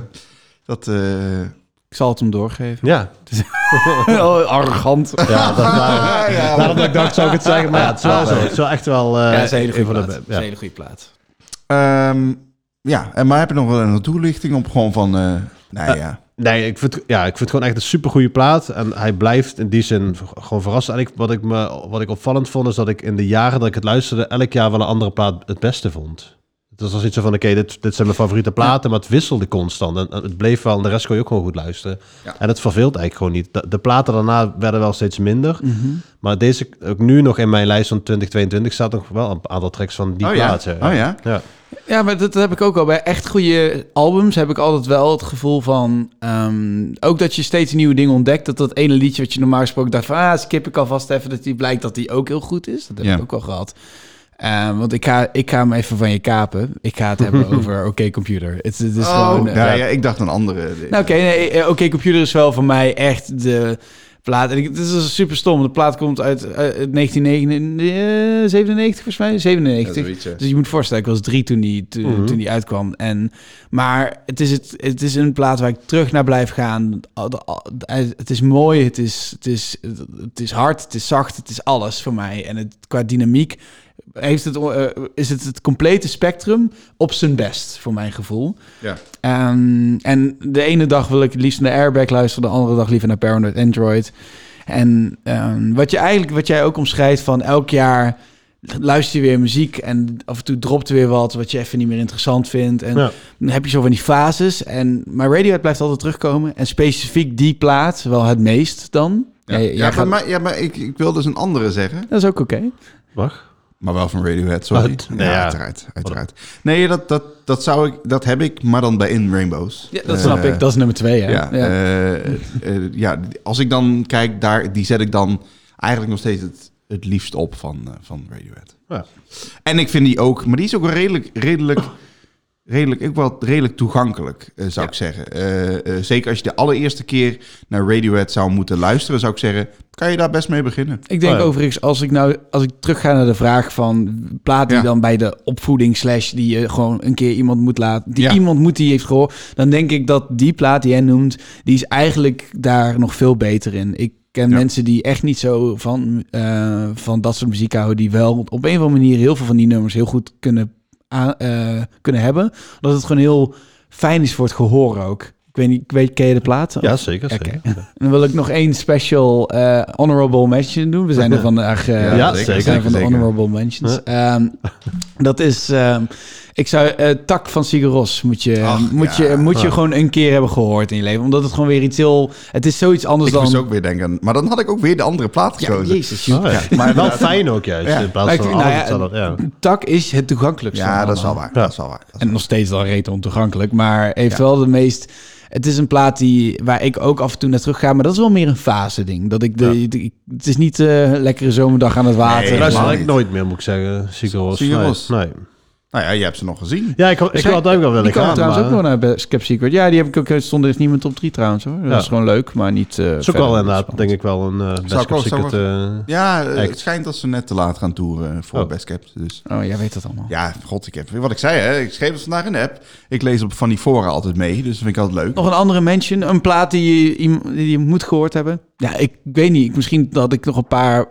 Speaker 3: dat eh,
Speaker 2: Ik zal het hem doorgeven.
Speaker 4: Ja,
Speaker 2: oh, arrogant.
Speaker 4: ja dat waren...
Speaker 3: ah, ja,
Speaker 4: Daarom dat ik dacht, zou ik het zeggen, maar ja, het is wel, zo. Het is wel echt wel... eh,
Speaker 2: Ja, dat is een hele goede
Speaker 4: van de-
Speaker 2: plaat. Dat is
Speaker 4: ja.
Speaker 2: een hele goede plaat.
Speaker 3: Ehm, ja, en maar heb je nog wel een toelichting op gewoon van... eh nou
Speaker 4: Eh,
Speaker 3: ja,
Speaker 4: Nee, ik vind, ja, ik vind het gewoon echt een supergoeie plaat. En hij blijft in die zin v- gewoon verrassen. En ik, wat, ik me, wat ik opvallend vond, is dat ik in de jaren dat ik het luisterde... elk jaar wel een andere plaat het beste vond. Het was niet zo van, oké, dit, dit zijn mijn favoriete platen... maar het wisselde constant. En, en het bleef wel, en de rest kon je ook gewoon goed luisteren.
Speaker 3: Ja.
Speaker 4: En het verveelt eigenlijk gewoon niet. De, de platen daarna werden wel steeds minder.
Speaker 3: Mhm.
Speaker 4: Maar deze, ook nu nog in mijn lijst van 2022... staat nog wel een aantal tracks van die
Speaker 3: Oh ja?
Speaker 4: plaat.
Speaker 3: Oh ja?
Speaker 4: ja.
Speaker 2: Ja, maar dat, dat heb ik ook al. Bij echt goede albums heb ik altijd wel het gevoel van... ehm, ook dat je steeds nieuwe dingen ontdekt. Dat dat ene liedje wat je normaal gesproken dacht van... Ah, skip ik alvast even. Dat die blijkt dat die ook heel goed is. Dat heb
Speaker 3: Ja.
Speaker 2: ik ook al gehad. Eh, want ik ga, ik ga hem even van je kapen. Ik ga het hebben over Oké Computer. Het, het is
Speaker 3: Oh,
Speaker 2: gewoon... eh,
Speaker 3: nou ja, ik dacht een andere.
Speaker 2: nou, oké, nee, eh, oké, computer is wel voor mij echt de plaat. En ik, het is super stom. De plaat komt uit eh, uit 1997, eh, volgens mij. 97.
Speaker 3: Ja, zoiets, ja. Mhm.
Speaker 2: Dus je moet voorstellen, ik was drie toen die, toen, toen die uitkwam. En, maar het is, het, het is een plaat waar ik terug naar blijf gaan. Al- de- al- de- Het is mooi, het is, het, is, het is hard, het is zacht, het is alles voor mij. En het, qua dynamiek heeft het, eh, is het het complete spectrum op zijn best, voor mijn gevoel.
Speaker 3: Ja.
Speaker 2: Ehm, en de ene dag wil ik het liefst naar Airbag luisteren, de andere dag liever naar Paranoid Android. En ehm, wat, je eigenlijk, wat jij ook omschrijft van elk jaar luister je weer muziek en af en toe dropt er weer wat wat je even niet meer interessant vindt. En
Speaker 4: Ja.
Speaker 2: dan heb je zo van die fases. En, maar Radiohead blijft altijd terugkomen. En specifiek die plaat wel het meest dan.
Speaker 3: Ja,
Speaker 2: Jij-
Speaker 3: ja,
Speaker 2: jij
Speaker 3: bij
Speaker 2: gaat-
Speaker 3: mij- ja, maar ik, ik wil dus een andere zeggen.
Speaker 2: Dat is ook oké.
Speaker 4: Mag?
Speaker 3: Maar wel van Radiohead, sorry.
Speaker 4: Oh, t-
Speaker 3: ja,
Speaker 4: nou ja.
Speaker 3: uiteraard. uiteraard. Nee, dat, dat, dat, zou ik, dat heb ik, maar dan bij In Rainbows.
Speaker 2: Ja, dat snap
Speaker 3: Eh,
Speaker 2: ik. Dat is nummer twee. Hè?
Speaker 3: Ja,
Speaker 2: Ja.
Speaker 3: eh, eh, ja, als ik dan kijk, daar, die zet ik dan eigenlijk nog steeds het, het liefst op van, eh, van Radiohead.
Speaker 4: Ja.
Speaker 3: En ik vind die ook, maar die is ook wel redelijk, redelijk, redelijk, ook wel redelijk toegankelijk, eh, zou ik zeggen. Eh, eh, zeker als je de allereerste keer naar Radiohead zou moeten luisteren, zou ik zeggen, kan je daar best mee beginnen.
Speaker 2: Ik denk
Speaker 4: Oh ja.
Speaker 2: overigens, als ik nou, als ik terug ga naar de vraag van plaat die
Speaker 3: Ja.
Speaker 2: dan bij de opvoeding slash die je gewoon een keer iemand moet laten, die
Speaker 3: Ja.
Speaker 2: iemand moet die heeft gehoord, dan denk ik dat die plaat die jij noemt, die is eigenlijk daar nog veel beter in. Ik ken
Speaker 3: Ja.
Speaker 2: mensen die echt niet zo van, eh, van dat soort muziek houden, die wel op een of andere manier heel veel van die nummers heel goed kunnen, a- eh, kunnen hebben, omdat het gewoon heel fijn is voor het gehoor ook. Ik weet niet, ik weet, ken je de plaat?
Speaker 4: Ja, zeker.
Speaker 2: Oké.
Speaker 4: zeker.
Speaker 2: En dan wil ik nog één special eh, honorable mention doen. We zijn er vandaag eh,
Speaker 4: Ja,
Speaker 3: dat
Speaker 4: zeker,
Speaker 2: we zijn van de
Speaker 3: zeker.
Speaker 2: honorable mentions. Ehm, dat is, ehm, ik zou eh, Tak van Sigaros moet je, ehm,
Speaker 3: Ach,
Speaker 2: moet
Speaker 3: ja.
Speaker 2: je, moet je
Speaker 4: Ja.
Speaker 2: gewoon een keer hebben gehoord in je leven, omdat het gewoon weer iets heel, het is zoiets anders
Speaker 3: ik
Speaker 2: dan.
Speaker 3: moest ook weer denken, maar dan had ik ook weer de andere plaat
Speaker 2: ja,
Speaker 3: gekozen.
Speaker 2: jezus, joh.
Speaker 4: Oh, ja. Maar wel fijn ook juist,
Speaker 3: Ja.
Speaker 4: in plaats
Speaker 2: Maar ik-
Speaker 4: van
Speaker 2: nou
Speaker 4: alles.
Speaker 2: ja,
Speaker 4: dat- ja.
Speaker 2: Tak is het toegankelijkste.
Speaker 3: Ja,
Speaker 2: van
Speaker 3: dat is wel
Speaker 2: allemaal.
Speaker 3: waar.
Speaker 4: Ja.
Speaker 3: Dat is wel waar. Dat is
Speaker 2: En nog steeds al reet ontoegankelijk, maar heeft wel de meest... Het is een plaat die, waar ik ook af en toe naar terug ga, maar dat is wel meer een fase ding. Dat ik de, de- ik- het is niet eh lekkere zomerdag aan het water.
Speaker 3: Nee,
Speaker 4: Luister,
Speaker 3: helemaal
Speaker 4: ik
Speaker 3: niet.
Speaker 4: nooit meer, moet ik zeggen. Sigaros.
Speaker 3: Sigur Ros.
Speaker 4: Nee. nee.
Speaker 3: Nou ja, je hebt ze nog gezien.
Speaker 4: Ja, ik, ik had het ook wel
Speaker 2: Die
Speaker 4: willen
Speaker 2: komen
Speaker 4: gaan,
Speaker 2: trouwens
Speaker 4: maar...
Speaker 2: ook wel naar Be- Skep Secret. Ja, die heb ik ook. Er stond dus niemand op 3 trouwens hoor. Dat
Speaker 4: Ja.
Speaker 2: is gewoon leuk, maar niet. eh
Speaker 4: Het is ook wel inderdaad, denk ik, wel een eh best
Speaker 3: ik ook- zou
Speaker 4: secret...
Speaker 3: ik-
Speaker 4: eh,
Speaker 3: Ja, eh, het
Speaker 4: Echt.
Speaker 3: schijnt dat ze net te laat gaan toeren voor
Speaker 4: Oh.
Speaker 3: Best Kept. Dus
Speaker 2: Oh, jij weet dat allemaal.
Speaker 3: ja, god, ik heb wat ik zei, hè, ik schreef het vandaag in de app. Ik lees op van die fora altijd mee, dus dat vind ik altijd leuk.
Speaker 2: Nog een andere mention, een plaat die je, iem- die je moet gehoord hebben. Ja, ik weet niet. ik- Misschien had ik nog een paar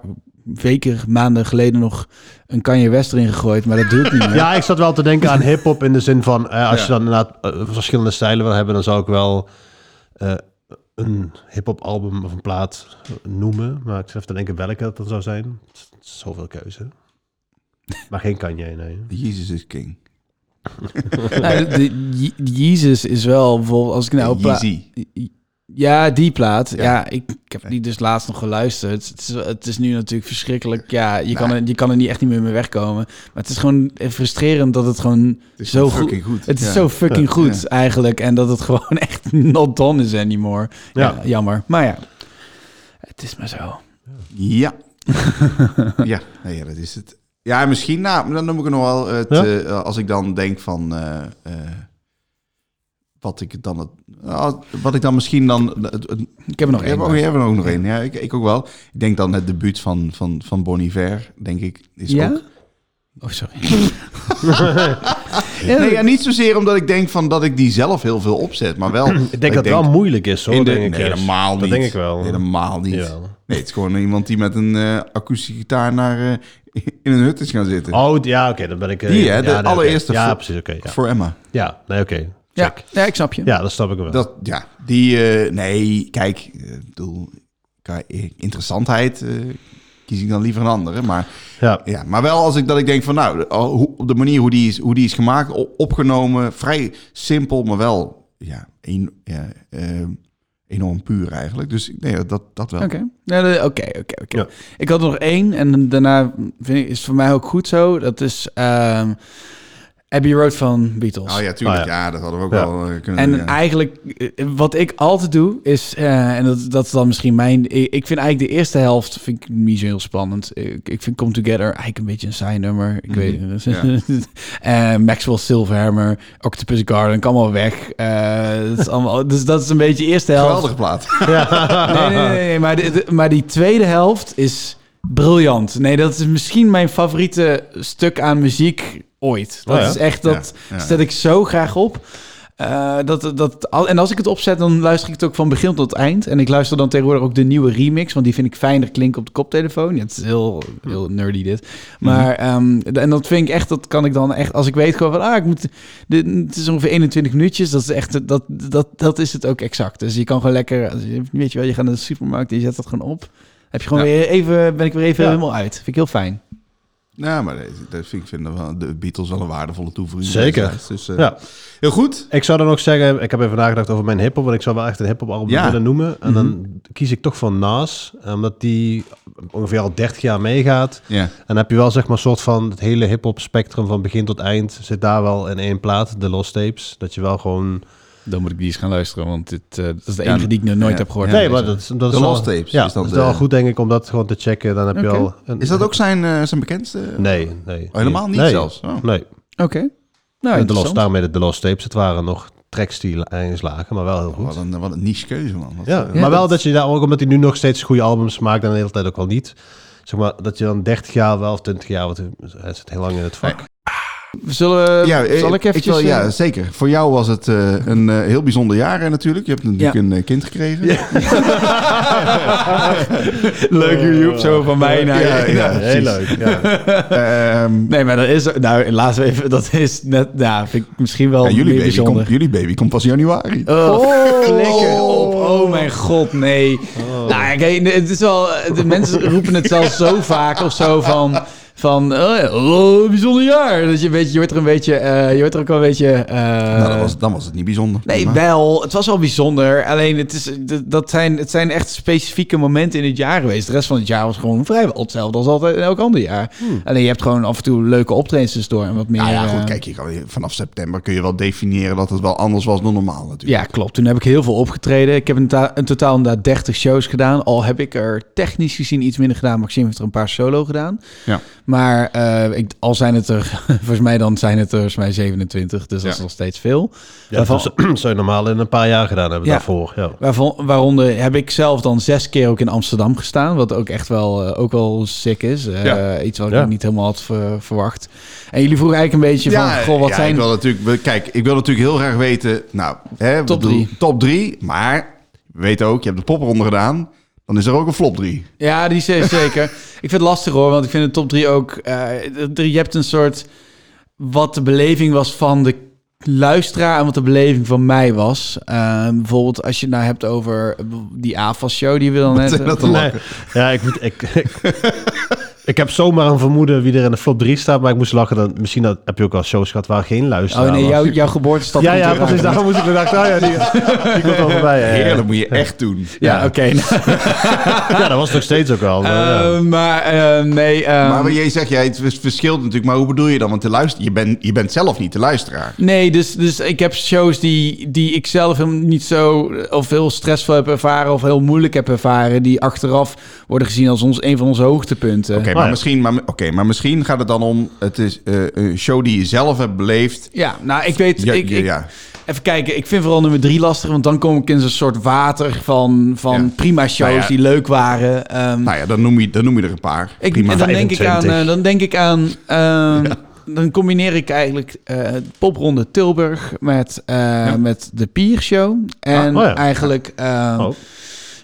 Speaker 2: weken, maanden geleden nog een Kanye West erin gegooid, maar dat duurt niet meer.
Speaker 4: Ja, ik zat wel te denken aan hip-hop in de zin van eh, als je
Speaker 3: Ja.
Speaker 4: dan inderdaad eh, verschillende stijlen wil hebben, dan zou ik wel eh, een hip-hop album of een plaat noemen. Maar ik zit even te denken welke dat dan zou zijn. Het is- het is Zoveel keuze. Maar geen Kanye, nee.
Speaker 3: Jezus is king.
Speaker 2: Nou, de, de- Jezus is wel bijvoorbeeld als ik nou op pla-
Speaker 3: Yeezy.
Speaker 2: Ja, die plaat. Ja,
Speaker 3: Ja.
Speaker 2: ik, ik heb die dus laatst nog geluisterd. Het is, het is nu natuurlijk verschrikkelijk. Ja, je, kan, er, je kan er niet echt niet meer mee wegkomen. Maar het is gewoon frustrerend dat het gewoon
Speaker 3: is
Speaker 2: zo
Speaker 3: gewoon
Speaker 2: goed...
Speaker 3: fucking goed.
Speaker 2: Het is
Speaker 3: Ja.
Speaker 2: zo fucking goed eigenlijk. En dat het gewoon echt not done is anymore. Ja.
Speaker 4: Ja.
Speaker 2: jammer. Maar ja, het is maar zo.
Speaker 3: Ja. ja, nee, ja, dat is het. Ja, misschien, nou, maar dan noem ik er nog wel, het,
Speaker 4: Ja?
Speaker 3: eh, als ik dan denk van, eh, eh, wat ik dan, het, ah, wat ik dan misschien dan, het- het-
Speaker 2: Ik heb er nog
Speaker 3: Ja,
Speaker 2: één.
Speaker 3: maar-
Speaker 2: maar.
Speaker 3: oh, jij hebt er ook nog één. Ja, ik, ik ook wel. Ik denk dan het debuut van, van, van Bon Iver, denk ik, is
Speaker 2: Ja?
Speaker 3: ook...
Speaker 2: Oh, sorry.
Speaker 3: Nee, ja, niet zozeer omdat ik denk van dat ik die zelf heel veel opzet, maar wel...
Speaker 4: Ik denk dat het wel moeilijk is, hoor.
Speaker 3: in de-
Speaker 4: denk ik
Speaker 3: nee,
Speaker 4: eerst.
Speaker 3: helemaal niet.
Speaker 4: Dat denk ik wel.
Speaker 3: Helemaal niet.
Speaker 4: Jawel.
Speaker 3: Nee, het is gewoon iemand die met een eh akoestische gitaar naar, eh, in een hut is gaan zitten.
Speaker 4: Oh, d- ja, oké, dan ben ik... eh,
Speaker 3: Die, hè,
Speaker 4: ja,
Speaker 3: de
Speaker 4: nee, oké.
Speaker 3: allereerste
Speaker 4: Ja,
Speaker 3: voor-
Speaker 4: precies, oké. ja.
Speaker 3: Voor Emma.
Speaker 4: ja, nee, oké.
Speaker 2: Ja,
Speaker 4: check. Ja.
Speaker 2: ja, ik snap je.
Speaker 4: dat snap ik wel.
Speaker 3: Dat, ja, die... eh, nee, kijk, eh, ik bedoel, qua, eh, interessantheid eh, kies ik dan liever een andere, maar...
Speaker 4: ja.
Speaker 3: Ja, maar wel als ik dat ik denk van nou, de- oh, hoe- op de manier hoe die is, hoe die is gemaakt, o- opgenomen, vrij simpel, maar wel ja, een, ja, eh, enorm puur eigenlijk. Dus nee, dat, dat wel.
Speaker 2: Oké, Nee, nee, oké, oké, oké.
Speaker 4: Ja.
Speaker 2: Ik had er nog één en daarna vind ik, is het voor mij ook goed zo. Dat is ehm, Abbey Road van Beatles.
Speaker 3: Oh ja, tuurlijk.
Speaker 4: Ah,
Speaker 3: ja. dat hadden we ook
Speaker 4: Ja.
Speaker 3: wel eh, kunnen
Speaker 2: En
Speaker 3: doen, ja.
Speaker 2: eigenlijk, eh, wat ik altijd doe, is, eh, en dat, dat is dan misschien mijn, ik ik vind eigenlijk de eerste helft vind ik niet zo heel spannend. Ik, ik vind Come Together eigenlijk een beetje een saai nummer.
Speaker 3: Mhm.
Speaker 2: Ik weet het. Eh, Maxwell Silverhammer, Octopus Garden, kan allemaal weg. Eh, dat is allemaal, dus dat is een beetje de eerste helft.
Speaker 3: Geweldige plaat.
Speaker 2: Nee, nee, nee, nee, Maar, de- de- maar die tweede helft is briljant. Nee, dat is misschien mijn favoriete stuk aan muziek ooit. Dat
Speaker 4: Oh ja?
Speaker 2: is echt, dat
Speaker 3: Ja, ja,
Speaker 2: zet ik zo graag op. Eh, dat, dat, al- en als ik het opzet, dan luister ik het ook van begin tot eind. En ik luister dan tegenwoordig ook de nieuwe remix, want die vind ik fijner klinken op de koptelefoon. Ja, het is heel, heel nerdy dit. Maar, ehm, en dat vind ik echt, dat kan ik dan echt, als ik weet gewoon van, ah, ik moet, dit, het is ongeveer 21 minuutjes, dat is echt, dat, dat, dat is het ook exact. Dus je kan gewoon lekker, weet je wel, je gaat naar de supermarkt en je zet dat gewoon op. Heb je gewoon
Speaker 3: Ja.
Speaker 2: weer even, ben ik weer even
Speaker 4: Ja.
Speaker 2: helemaal uit. Vind ik heel fijn.
Speaker 3: Ja, maar dat- dat vind ik vinden wel, de Beatles wel een waardevolle toevoeging.
Speaker 4: Zeker.
Speaker 3: Dus, eh,
Speaker 4: Ja.
Speaker 3: Heel goed.
Speaker 4: Ik zou dan ook zeggen, ik heb even nagedacht over mijn hiphop, want ik zou wel echt een hiphop album
Speaker 3: Ja. Mhm.
Speaker 4: willen noemen. En dan kies ik toch voor Nas, omdat die ongeveer al 30 jaar meegaat.
Speaker 3: Ja.
Speaker 4: En dan heb je wel zeg maar soort van het hele hiphop spectrum van begin tot eind zit daar wel in één plaat, de Lost Tapes. Dat je wel gewoon...
Speaker 2: Dan moet ik die eens gaan luisteren, want dit, eh, dat is de
Speaker 3: Ja,
Speaker 2: enige die ik nog nooit
Speaker 3: ja.
Speaker 2: heb gehoord.
Speaker 3: Ja,
Speaker 4: nee, maar dat, is- dat
Speaker 3: De
Speaker 4: is wel-
Speaker 3: Lost Tapes
Speaker 4: Ja,
Speaker 3: is
Speaker 4: is
Speaker 3: dan
Speaker 4: dat is
Speaker 3: de-
Speaker 4: wel goed denk ik om dat gewoon te checken. Dan heb je
Speaker 2: Oké.
Speaker 4: al... een-
Speaker 3: Is dat ook zijn, eh, zijn bekendste?
Speaker 4: Nee, nee.
Speaker 3: Oh, helemaal niet
Speaker 4: Nee.
Speaker 3: zelfs? Oh.
Speaker 4: Nee.
Speaker 2: Oké. Nou,
Speaker 4: de Lost,
Speaker 2: interessant.
Speaker 4: daarmee de, de Lost Tapes. Het waren nog tracks die ergens lagen, maar wel heel goed.
Speaker 3: Wat een, wat een niche keuze, man. Wat,
Speaker 4: Ja,
Speaker 3: eh,
Speaker 4: maar wel
Speaker 2: dat-
Speaker 4: dat... je daar ook, omdat hij nu nog steeds goede albums maakt en de hele tijd ook wel niet. Zeg maar, dat je dan 30 jaar wel of 20 jaar, want hij zit heel lang in het vak.
Speaker 2: Zullen we,
Speaker 3: Ja, eh,
Speaker 2: zal ik eventjes...
Speaker 3: wil-
Speaker 2: eh,
Speaker 3: ja, zeker. Voor jou was het eh, een eh, heel bijzonder jaar eh, natuurlijk. Je hebt natuurlijk
Speaker 2: Ja.
Speaker 3: een eh, kind gekregen.
Speaker 2: Leuk YouTube, zo van mij naar
Speaker 3: Ja, ja,
Speaker 4: heel leuk. Ja.
Speaker 3: Ehm,
Speaker 2: Nee, maar dat is... Nou, laten we even... Dat is net... Nou, vind ik misschien wel
Speaker 3: ja, jullie,
Speaker 2: meer
Speaker 3: baby
Speaker 2: bijzonder.
Speaker 3: komt, jullie baby komt pas januari. Nou,
Speaker 2: Oh, flikker op. Oh mijn god, nee.
Speaker 3: Oh.
Speaker 2: Nou, kijk, het is wel... De mensen roepen het zelfs zo vaak of zo van... Van, oh, ja, oh, bijzonder jaar. Dat je, weet, je wordt er een beetje... eh, je wordt er ook wel een beetje... eh,
Speaker 3: nou, dan was, dan was het niet bijzonder.
Speaker 2: Nee,
Speaker 3: Maar-
Speaker 2: wel. Het was wel bijzonder. Alleen, het, is, d- dat zijn, het zijn echt specifieke momenten in het jaar geweest. De rest van het jaar was gewoon vrijwel hetzelfde als altijd in elk ander jaar. Alleen, je hebt gewoon af en toe leuke optredens door en wat meer...
Speaker 3: Hmm. Nou ja, goed,
Speaker 2: eh,
Speaker 3: kijk, je kan, vanaf september kun je wel definiëren dat het wel anders was dan normaal natuurlijk.
Speaker 2: Ja, klopt. Toen heb ik heel veel opgetreden. Ik heb in, ta- in totaal inderdaad 30 shows gedaan. Al heb ik er technisch gezien iets minder gedaan. Maxime heeft er een paar solo gedaan.
Speaker 3: Ja.
Speaker 2: Maar eh, ik, al zijn het er, volgens mij dan zijn het er volgens mij 27. Dus dat is
Speaker 3: Ja. dus-
Speaker 2: nog steeds veel.
Speaker 4: Ja, dat zou- zou je normaal in een paar jaar gedaan hebben
Speaker 2: Ja.
Speaker 4: daarvoor. Ja.
Speaker 2: Waarvan, waaronder heb ik zelf dan zes keer ook in Amsterdam gestaan. Wat ook echt wel, eh, ook wel sick is. Eh,
Speaker 3: Ja.
Speaker 2: Iets wat
Speaker 4: Ja.
Speaker 2: ik niet helemaal had ver- verwacht. En jullie vroegen eigenlijk een beetje van... Goh, wat
Speaker 3: ja,
Speaker 2: zijn...
Speaker 3: Ik wil natuurlijk, kijk, ik wil natuurlijk heel graag weten. Nou, hè, we
Speaker 2: Top
Speaker 3: doen
Speaker 2: drie.
Speaker 3: Top drie. Maar we weten ook, je hebt de popronde gedaan. Dan is er ook een flop drie.
Speaker 2: Ja, die is eh, zeker. ik vind het lastig hoor, want ik vind de top 3 ook. eh, de- je hebt een soort. wat de beleving was van de luisteraar en wat de beleving van mij was. Eh, bijvoorbeeld als je het nou hebt over die AFAS-show die we dan net. eh,
Speaker 3: zijn dat dan?
Speaker 4: Nee. Ja, ik, moet- ik, ik, ik heb zomaar een vermoeden wie er in de flop 3 staat, maar ik moest lachen. Dat, misschien dat, heb je ook wel shows gehad waar geen luisteraar
Speaker 2: Oh nee,
Speaker 4: was.
Speaker 2: jouw, jouw geboortestad.
Speaker 4: ja,
Speaker 2: komt
Speaker 4: ja,
Speaker 2: er ook
Speaker 4: precies.
Speaker 2: uit.
Speaker 4: Daarom moest ik bedacht, ah ja, die, die komt wel voorbij. ja, ja.
Speaker 3: Heerlijk, Eh, moet je echt doen.
Speaker 2: Ja, oké. nou,
Speaker 4: Ja, dat was nog steeds ook wel. ja.
Speaker 2: eh, maar eh, nee. eh,
Speaker 3: Maar wat jij zegt, jij, het vers- verschilt natuurlijk. Maar hoe bedoel je dan? Want de luister, je, bent je bent zelf niet de luisteraar.
Speaker 2: Nee, dus, dus ik heb shows die, die ik zelf hem niet zo of heel stressvol heb ervaren of heel moeilijk heb ervaren, die achteraf worden gezien als ons, een van onze hoogtepunten.
Speaker 3: Oké,
Speaker 4: Oh,
Speaker 3: maar,
Speaker 4: ja.
Speaker 3: misschien, maar, oké, maar misschien gaat het dan om... Het is eh, een show die je zelf hebt beleefd.
Speaker 2: Ja, nou, ik weet...
Speaker 3: Ja,
Speaker 2: ik,
Speaker 3: ja,
Speaker 2: ik-
Speaker 3: ja.
Speaker 2: Even kijken, ik vind vooral nummer drie lastig, want dan kom ik in zo'n soort water van, van
Speaker 3: Ja.
Speaker 2: prima shows
Speaker 3: Nou ja.
Speaker 2: die leuk waren. Ehm,
Speaker 3: Nou ja, dan noem je, dan noem je er een paar.
Speaker 2: ik,
Speaker 3: Prima.
Speaker 2: en dan denk ik aan...
Speaker 4: 25.
Speaker 2: eh, dan denk ik aan ehm, Dan combineer ik eigenlijk eh, popronde Tilburg met, eh, met de Piershow. En
Speaker 4: Ah, oh ja.
Speaker 2: eigenlijk... ehm,
Speaker 4: Oh.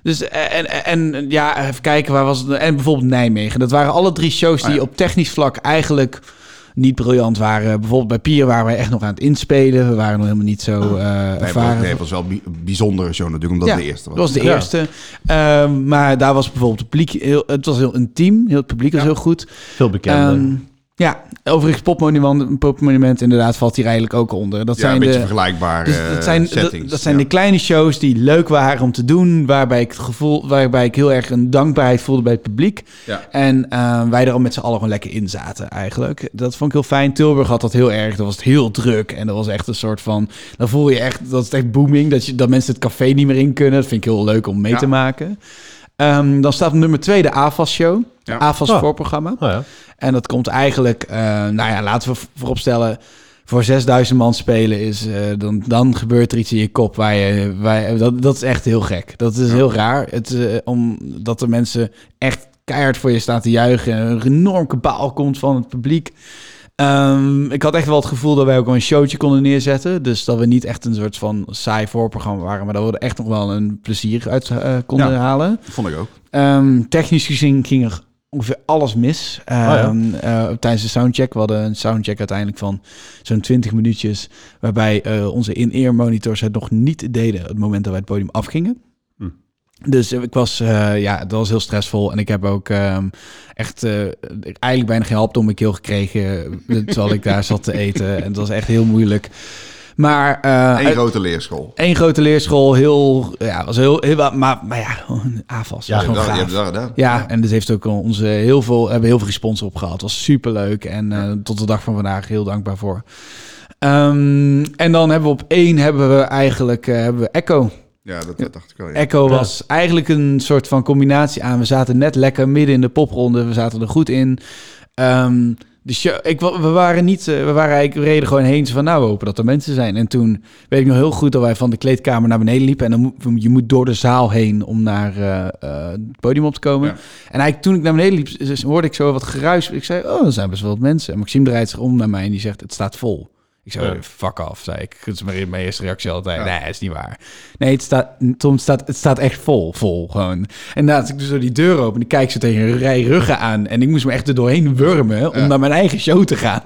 Speaker 2: Dus eh, en, en, en ja, even kijken, waar was het? nou? En bijvoorbeeld Nijmegen. Dat waren alle drie shows
Speaker 4: Oh
Speaker 2: die
Speaker 3: Ah, ja.
Speaker 2: op technisch vlak eigenlijk niet briljant waren. Bijvoorbeeld bij Pier waren we echt nog aan het inspelen. We waren nog helemaal niet
Speaker 4: Ah.
Speaker 2: zo eh
Speaker 3: Nee, maar-
Speaker 2: ervaren.
Speaker 3: nee, het was wel een bi- bijzondere show natuurlijk, omdat
Speaker 2: ja,
Speaker 3: het de eerste was.
Speaker 2: dat was de
Speaker 4: Ja.
Speaker 2: eerste. Ehm, maar daar was bijvoorbeeld het publiek heel, het was heel intiem. Heel het publiek was heel goed.
Speaker 4: Veel bekender.
Speaker 2: Ehm, ja, overigens popmonument, popmonument inderdaad valt hier eigenlijk ook onder. Dat
Speaker 3: ja,
Speaker 2: zijn
Speaker 3: een beetje
Speaker 2: de,
Speaker 3: vergelijkbaar
Speaker 2: dus
Speaker 3: eh,
Speaker 2: dat zijn, dat,
Speaker 3: settings.
Speaker 2: dat zijn
Speaker 3: ja.
Speaker 2: de kleine shows die leuk waren om te doen. Waarbij ik, het gevoel, waarbij ik heel erg een dankbaarheid voelde bij het publiek.
Speaker 3: Ja.
Speaker 2: En eh, wij er al met z'n allen gewoon lekker in zaten eigenlijk. Dat vond ik heel fijn. Tilburg had dat heel erg. Dat was het heel druk. En dat was echt een soort van... Dan voel je echt... Dat is echt booming. Dat, je, dat mensen het café niet meer in kunnen. Dat vind ik heel leuk om mee
Speaker 3: Ja.
Speaker 2: te maken. Ehm, dan staat op nummer twee de AFAS-show.
Speaker 3: Ja.
Speaker 2: AFAS
Speaker 4: Oh.
Speaker 2: voorprogramma.
Speaker 4: Oh ja.
Speaker 2: En dat komt eigenlijk, eh, nou ja, laten we v- vooropstellen. Voor 6000 man spelen is, eh, dan, dan gebeurt er iets in je kop. Waar je, waar, je- dat, dat is echt heel gek. Dat is heel raar. Het, eh, omdat de mensen echt keihard voor je staan te juichen. En een enorm kabaal komt van het publiek. Ehm, ik had echt wel het gevoel dat wij ook wel een showtje konden neerzetten. Dus dat we niet echt een soort van saai voorprogramma waren. Maar dat we er echt nog wel een plezier uit eh, konden
Speaker 3: Ja.
Speaker 2: halen.
Speaker 3: Vond ik ook.
Speaker 2: Ehm, technisch gezien ging er ongeveer alles mis.
Speaker 3: Oh,
Speaker 4: ja.
Speaker 2: Ehm, eh, tijdens de soundcheck. We hadden een soundcheck uiteindelijk van zo'n 20 minuutjes.
Speaker 3: Hm.
Speaker 2: Waarbij eh, onze in-ear monitors het nog niet deden. Het moment dat wij het podium afgingen. Dus ik was, eh, ja, dat was heel stressvol. En ik heb ook ehm, echt eh, eigenlijk bijna geen hap door mijn keel gekregen. eh, terwijl ik daar zat te eten. En het was echt heel moeilijk. Maar eh,
Speaker 3: Eén grote leerschool.
Speaker 2: Eén grote leerschool, heel, ja, was heel, heel maar, maar ja, gewoon AFAS.
Speaker 4: Ja,
Speaker 2: was
Speaker 3: Je
Speaker 2: gewoon
Speaker 3: hebt dat- je
Speaker 2: gaaf.
Speaker 3: hebt dat gedaan.
Speaker 2: Ja, en dus heeft ook onze heel veel, hebben heel veel respons op gehad. Was superleuk en eh, tot de dag van vandaag heel dankbaar voor. Ehm, en dan hebben we op één hebben we eigenlijk eh, hebben we Echo.
Speaker 3: Ja, dat dat dacht ik wel. ja.
Speaker 2: Echo was eigenlijk een soort van combinatie aan. We zaten net lekker midden in de popronde. We zaten er goed in. Ehm, de show, ik, wa- we waren niet, eh, we waren eigenlijk, we reden gewoon heen. Zo van, nou, we hopen dat er mensen zijn. En toen weet ik nog heel goed dat wij van de kleedkamer naar beneden liepen. En dan moet, je moet door de zaal heen om naar eh, eh, het podium op te komen.
Speaker 3: Ja.
Speaker 2: En eigenlijk toen ik naar beneden liep, z- z- hoorde ik zo wat geruis. Ik zei, oh, er zijn best wel wat mensen. En Maxime draait zich om naar mij en die zegt, het staat vol. Ik zei,
Speaker 4: Ja.
Speaker 2: "Eh, fuck off, zei ik. Dat is mijn, mijn eerste reactie altijd.
Speaker 3: Ja.
Speaker 2: Nee, is niet waar. Nee, het staat, Tom, staat, het staat echt vol, vol gewoon. En naast ik dus door die deur open en ik kijk ze tegen een rij ruggen aan. En ik moest me echt er doorheen wurmen om
Speaker 3: Ja.
Speaker 2: naar mijn eigen show te gaan.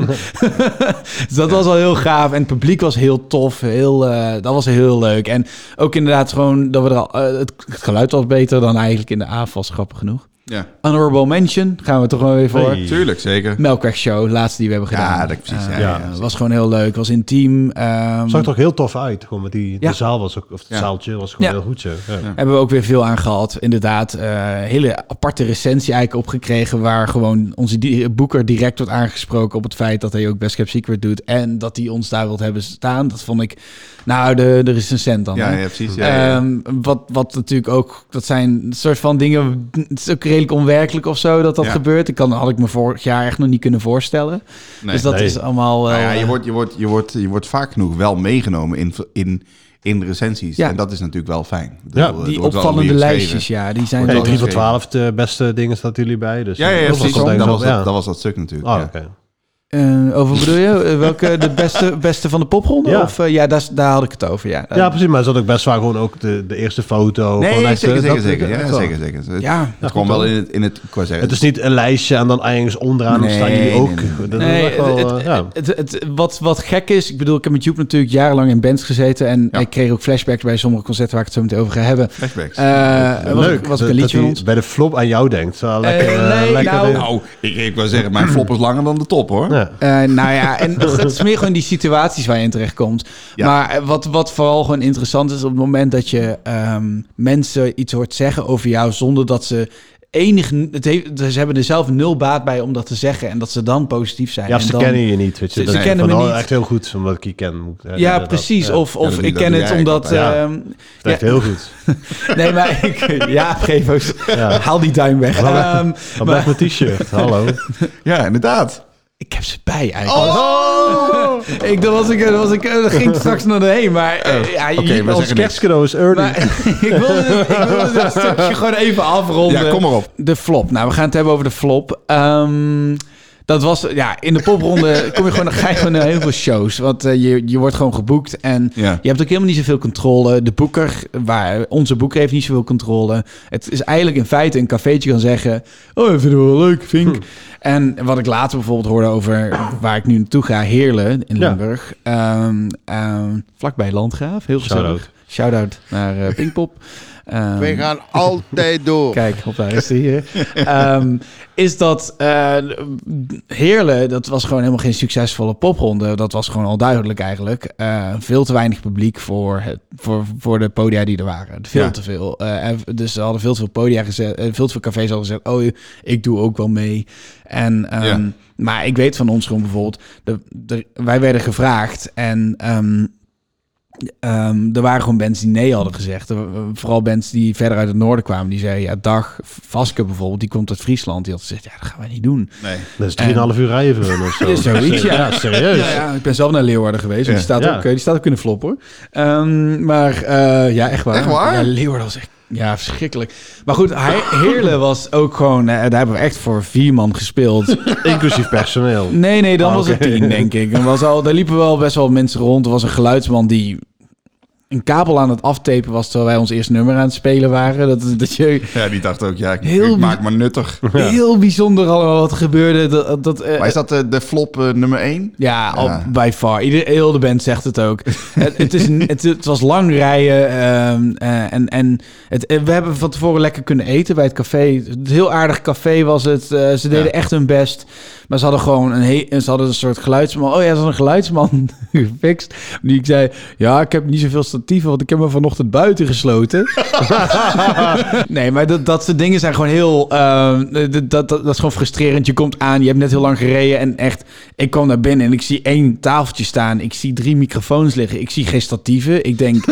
Speaker 2: dus dat was al heel gaaf. En het publiek was heel tof. Heel, eh, dat was heel leuk. En ook inderdaad gewoon dat we er al... eh, het, het geluid was beter dan eigenlijk in de avond, grappig genoeg.
Speaker 3: Ja,
Speaker 2: Honorable Mention, gaan we toch wel weer voor.
Speaker 4: Hey.
Speaker 3: tuurlijk, zeker.
Speaker 2: Melkweg Show, laatste die we hebben
Speaker 3: Ja,
Speaker 2: gedaan.
Speaker 3: dat precies,
Speaker 2: Eh,
Speaker 3: ja,
Speaker 4: ja,
Speaker 2: eh, was gewoon heel leuk, was intiem. Ehm,
Speaker 4: Zag er ook heel tof uit. Gewoon met die,
Speaker 2: Ja.
Speaker 4: de zaal was ook, of het
Speaker 3: Ja.
Speaker 4: zaaltje was gewoon
Speaker 2: Ja.
Speaker 4: heel goed zo. Ja.
Speaker 2: Hebben we ook weer veel aan gehad. Inderdaad, eh, hele aparte recensie eigenlijk opgekregen... waar gewoon onze di- boeker direct wordt aangesproken... op het feit dat hij ook Best Kept Secret doet... en dat hij ons daar wilt hebben staan. Dat vond ik... Nou, de, de recensent dan.
Speaker 3: Ja,
Speaker 2: hè?
Speaker 3: ja, precies. Ja, ja, ja.
Speaker 2: Ehm, wat, wat natuurlijk ook, dat zijn soort van dingen. Het is ook redelijk onwerkelijk of zo dat dat
Speaker 3: Ja.
Speaker 2: gebeurt. Ik kan, had ik me vorig jaar echt nog niet kunnen voorstellen.
Speaker 3: Nee.
Speaker 2: dus dat
Speaker 4: Nee.
Speaker 2: is allemaal.
Speaker 3: Nou ja,
Speaker 2: eh,
Speaker 3: je, wordt, je, wordt, je, wordt, je wordt vaak genoeg wel meegenomen in, in, in de recensies.
Speaker 2: Ja.
Speaker 3: En dat is natuurlijk wel fijn. Ik
Speaker 4: Ja,
Speaker 3: bedoel, het
Speaker 2: die
Speaker 3: wordt wel
Speaker 2: opvallende
Speaker 3: weer geschreven.
Speaker 2: lijstjes, ja, die zijn
Speaker 3: Wordt
Speaker 4: Nee,
Speaker 2: wel-
Speaker 3: wel
Speaker 4: drie voor
Speaker 3: geschreven.
Speaker 4: twaalf de beste dingen staat jullie bij. Dus
Speaker 3: Ja, ja, ja,
Speaker 4: dat
Speaker 3: precies.
Speaker 4: was
Speaker 3: Dat was,
Speaker 4: ja.
Speaker 3: dat, dat was dat stuk natuurlijk.
Speaker 4: Oh,
Speaker 3: ja.
Speaker 4: oké.
Speaker 2: Eh, over bedoel je? Eh, welke de beste, beste van de popronde?
Speaker 4: Ja.
Speaker 2: Of eh, ja, daar, daar had ik het over. Ja,
Speaker 4: Ja, precies. Maar er zat ook best vaak gewoon ook de, de eerste foto.
Speaker 3: Nee,
Speaker 4: gewoon echt,
Speaker 3: zeker,
Speaker 4: eh,
Speaker 3: zeker,
Speaker 4: dat-
Speaker 3: zeker.
Speaker 4: dat-
Speaker 3: Ja,
Speaker 4: dat-
Speaker 3: zeker, zeker.
Speaker 2: Ja.
Speaker 3: Het
Speaker 2: Ja,
Speaker 3: kwam wel in het... In het, ik wou zeggen,
Speaker 4: eh, Het is niet een lijstje en dan ergens onderaan
Speaker 3: Nee,
Speaker 4: staan jullie
Speaker 3: nee,
Speaker 4: ook.
Speaker 3: nee, nee.
Speaker 4: Dat is
Speaker 2: Nee,
Speaker 4: echt wel,
Speaker 2: het-
Speaker 4: eh,
Speaker 2: het-
Speaker 4: ja.
Speaker 2: het- het- wat, wat gek is, ik bedoel, ik heb met Joep natuurlijk jarenlang in bands gezeten en
Speaker 3: Ja.
Speaker 2: ik kreeg ook flashbacks bij sommige concerten waar ik het zo meteen over ga hebben.
Speaker 3: flashbacks.
Speaker 2: Eh, was ook-
Speaker 4: Leuk.
Speaker 2: Was ook
Speaker 4: dat-
Speaker 2: een
Speaker 4: dat
Speaker 2: liedje van
Speaker 4: hij
Speaker 2: ons.
Speaker 4: bij de flop aan jou denkt. Zo, lekker,
Speaker 2: Eh,
Speaker 4: eh,
Speaker 2: nee,
Speaker 4: lekker
Speaker 2: nou-
Speaker 4: weer.
Speaker 3: nou, ik, ik wou zeggen, mijn flop is langer dan de top, hoor.
Speaker 4: Ja.
Speaker 2: Eh, nou ja, en het is meer gewoon die situaties waar je in terechtkomt.
Speaker 3: Ja.
Speaker 2: Maar eh, wat, wat vooral gewoon interessant is, op het moment dat je ehm, mensen iets hoort zeggen over jou zonder dat ze enig. Het heeft, ze hebben er zelf nul baat bij om dat te zeggen en dat ze dan positief zijn.
Speaker 4: Ja,
Speaker 2: en
Speaker 4: ze
Speaker 2: dan-
Speaker 4: kennen je niet. Weet je.
Speaker 2: Ze-
Speaker 4: Dat
Speaker 2: ze
Speaker 4: is
Speaker 2: kennen
Speaker 4: van,
Speaker 2: me
Speaker 4: oh,
Speaker 2: niet.
Speaker 4: Echt heel goed, omdat ik je ken. moet- eh,
Speaker 2: Ja,
Speaker 4: dat-
Speaker 2: precies.
Speaker 4: ja.
Speaker 2: Of,
Speaker 3: Ja, dat
Speaker 2: of
Speaker 3: doe-
Speaker 2: ik
Speaker 3: dat
Speaker 2: ken
Speaker 3: doe
Speaker 2: het
Speaker 3: jij
Speaker 2: omdat.
Speaker 3: altijd.
Speaker 2: ehm,
Speaker 4: Dat is echt heel goed.
Speaker 2: nee, maar ik. Ja, geef ons.
Speaker 4: Ja.
Speaker 2: Haal die duim weg.
Speaker 4: Maar-
Speaker 2: Ehm,
Speaker 4: Dan blijft mijn t-shirt. Hallo.
Speaker 3: Ja, inderdaad.
Speaker 2: ik heb ze bij
Speaker 3: Oh.
Speaker 2: eigenlijk. Ik, dat was ik, dat was ik, dat ging ik straks naar de heen, maar eh, ja,
Speaker 3: oké,
Speaker 2: je-
Speaker 3: we
Speaker 2: als
Speaker 3: zeggen
Speaker 4: Ons
Speaker 3: niks.
Speaker 4: kerstcadeau is early.
Speaker 2: Maar ik wilde, dit- ik wilde dat stukje gewoon even afronden.
Speaker 3: Ja, kom maar op.
Speaker 2: De flop. Nou, we gaan het hebben over de flop. Ehm, dat was, ja, in de popronde kom je gewoon, dan ga je gewoon naar heel veel shows. Want eh, je, je wordt gewoon geboekt en
Speaker 3: Ja.
Speaker 2: je hebt ook helemaal niet zoveel controle. De boeker, waar, onze boeker heeft niet zoveel controle. Het is eigenlijk in feite een cafeetje kan zeggen... Oh, dat vinden we wel leuk, Vink. En wat ik later bijvoorbeeld hoorde over waar ik nu naartoe ga, Heerlen in
Speaker 4: Ja.
Speaker 2: Limburg. Ehm, ehm, vlakbij Landgraaf, heel
Speaker 4: Shout-out.
Speaker 2: gezellig. Shout-out naar eh, Pinkpop. Ehm,
Speaker 7: We gaan altijd door.
Speaker 2: Kijk, op daar is die hier. Ehm, is dat eh Heerlen, dat was gewoon helemaal geen succesvolle popronde. Dat was gewoon al duidelijk eigenlijk. Eh, veel te weinig publiek voor, het, voor, voor de podia die er waren. Veel
Speaker 3: Ja.
Speaker 2: te veel. Eh, en dus ze hadden veel te veel podia gezet. eh, veel te veel cafés hadden gezet. Oh, ik doe ook wel mee. En, ehm,
Speaker 3: Ja.
Speaker 2: Maar ik weet van ons gewoon bijvoorbeeld... De, de- wij werden gevraagd en... ehm, Ehm, er waren gewoon bands die nee hadden gezegd. Er wa- vooral bands die verder uit het noorden kwamen. Die zeiden, ja, Dag, Vaske bijvoorbeeld, die komt uit Friesland. Die had gezegd, ja, dat gaan wij niet doen.
Speaker 3: Nee.
Speaker 4: Dat is 3,5 uur rijden voor hun of zo.
Speaker 2: Ja, zoiets, ja.
Speaker 4: serieus.
Speaker 2: Ja, ja, ik ben zelf naar Leeuwarden geweest. want Die,
Speaker 3: Ja.
Speaker 2: staat
Speaker 4: Ja.
Speaker 2: ook, eh, die staat ook in de flop, hoor. Ehm, maar eh, ja, echt waar.
Speaker 3: Echt waar?
Speaker 2: Ja, Leeuwarden was echt... Ja, verschrikkelijk. Maar goed, He- Heerlen was ook gewoon... eh, daar hebben we echt voor vier man gespeeld.
Speaker 4: Inclusief personeel.
Speaker 2: Nee, nee, dan
Speaker 4: Ah,
Speaker 2: was
Speaker 4: oké.
Speaker 2: het tien, denk ik. Er was al, daar liepen wel best wel mensen rond. Er was een geluidsman die een kabel aan het aftepen was terwijl wij ons eerste nummer aan het spelen waren. Dat, dat je
Speaker 3: Ja, die dacht ook, ja, ik,
Speaker 2: Heel
Speaker 3: ik maak
Speaker 2: bi-
Speaker 3: me nuttig.
Speaker 2: heel bijzonder allemaal wat gebeurde. Dat, dat, eh,
Speaker 3: Maar is dat eh, de flop eh, nummer 1?
Speaker 2: Ja, al,
Speaker 3: Ja.
Speaker 2: by far. Ieder, heel de band zegt het ook. het, het, is, een- het, het was lang rijden. ehm, eh, en en het, eh, we hebben van tevoren lekker kunnen eten bij het café. Het heel aardig café was het. Eh, ze deden
Speaker 3: Ja.
Speaker 2: echt hun best. Maar ze hadden gewoon een, he- ze hadden een soort geluidsman. Oh ja, ze hadden een geluidsman gefixt. Die ik zei, ja, ik heb niet zoveel statieven... want ik heb me vanochtend buiten gesloten. Nee, maar dat, dat soort dingen zijn gewoon heel... ehm, dat, dat, dat is gewoon frustrerend. Je komt aan, je hebt net heel lang gereden en echt... Ik kwam naar binnen en ik zie één tafeltje staan. Ik zie drie microfoons liggen. Ik zie geen statieven. Ik denk...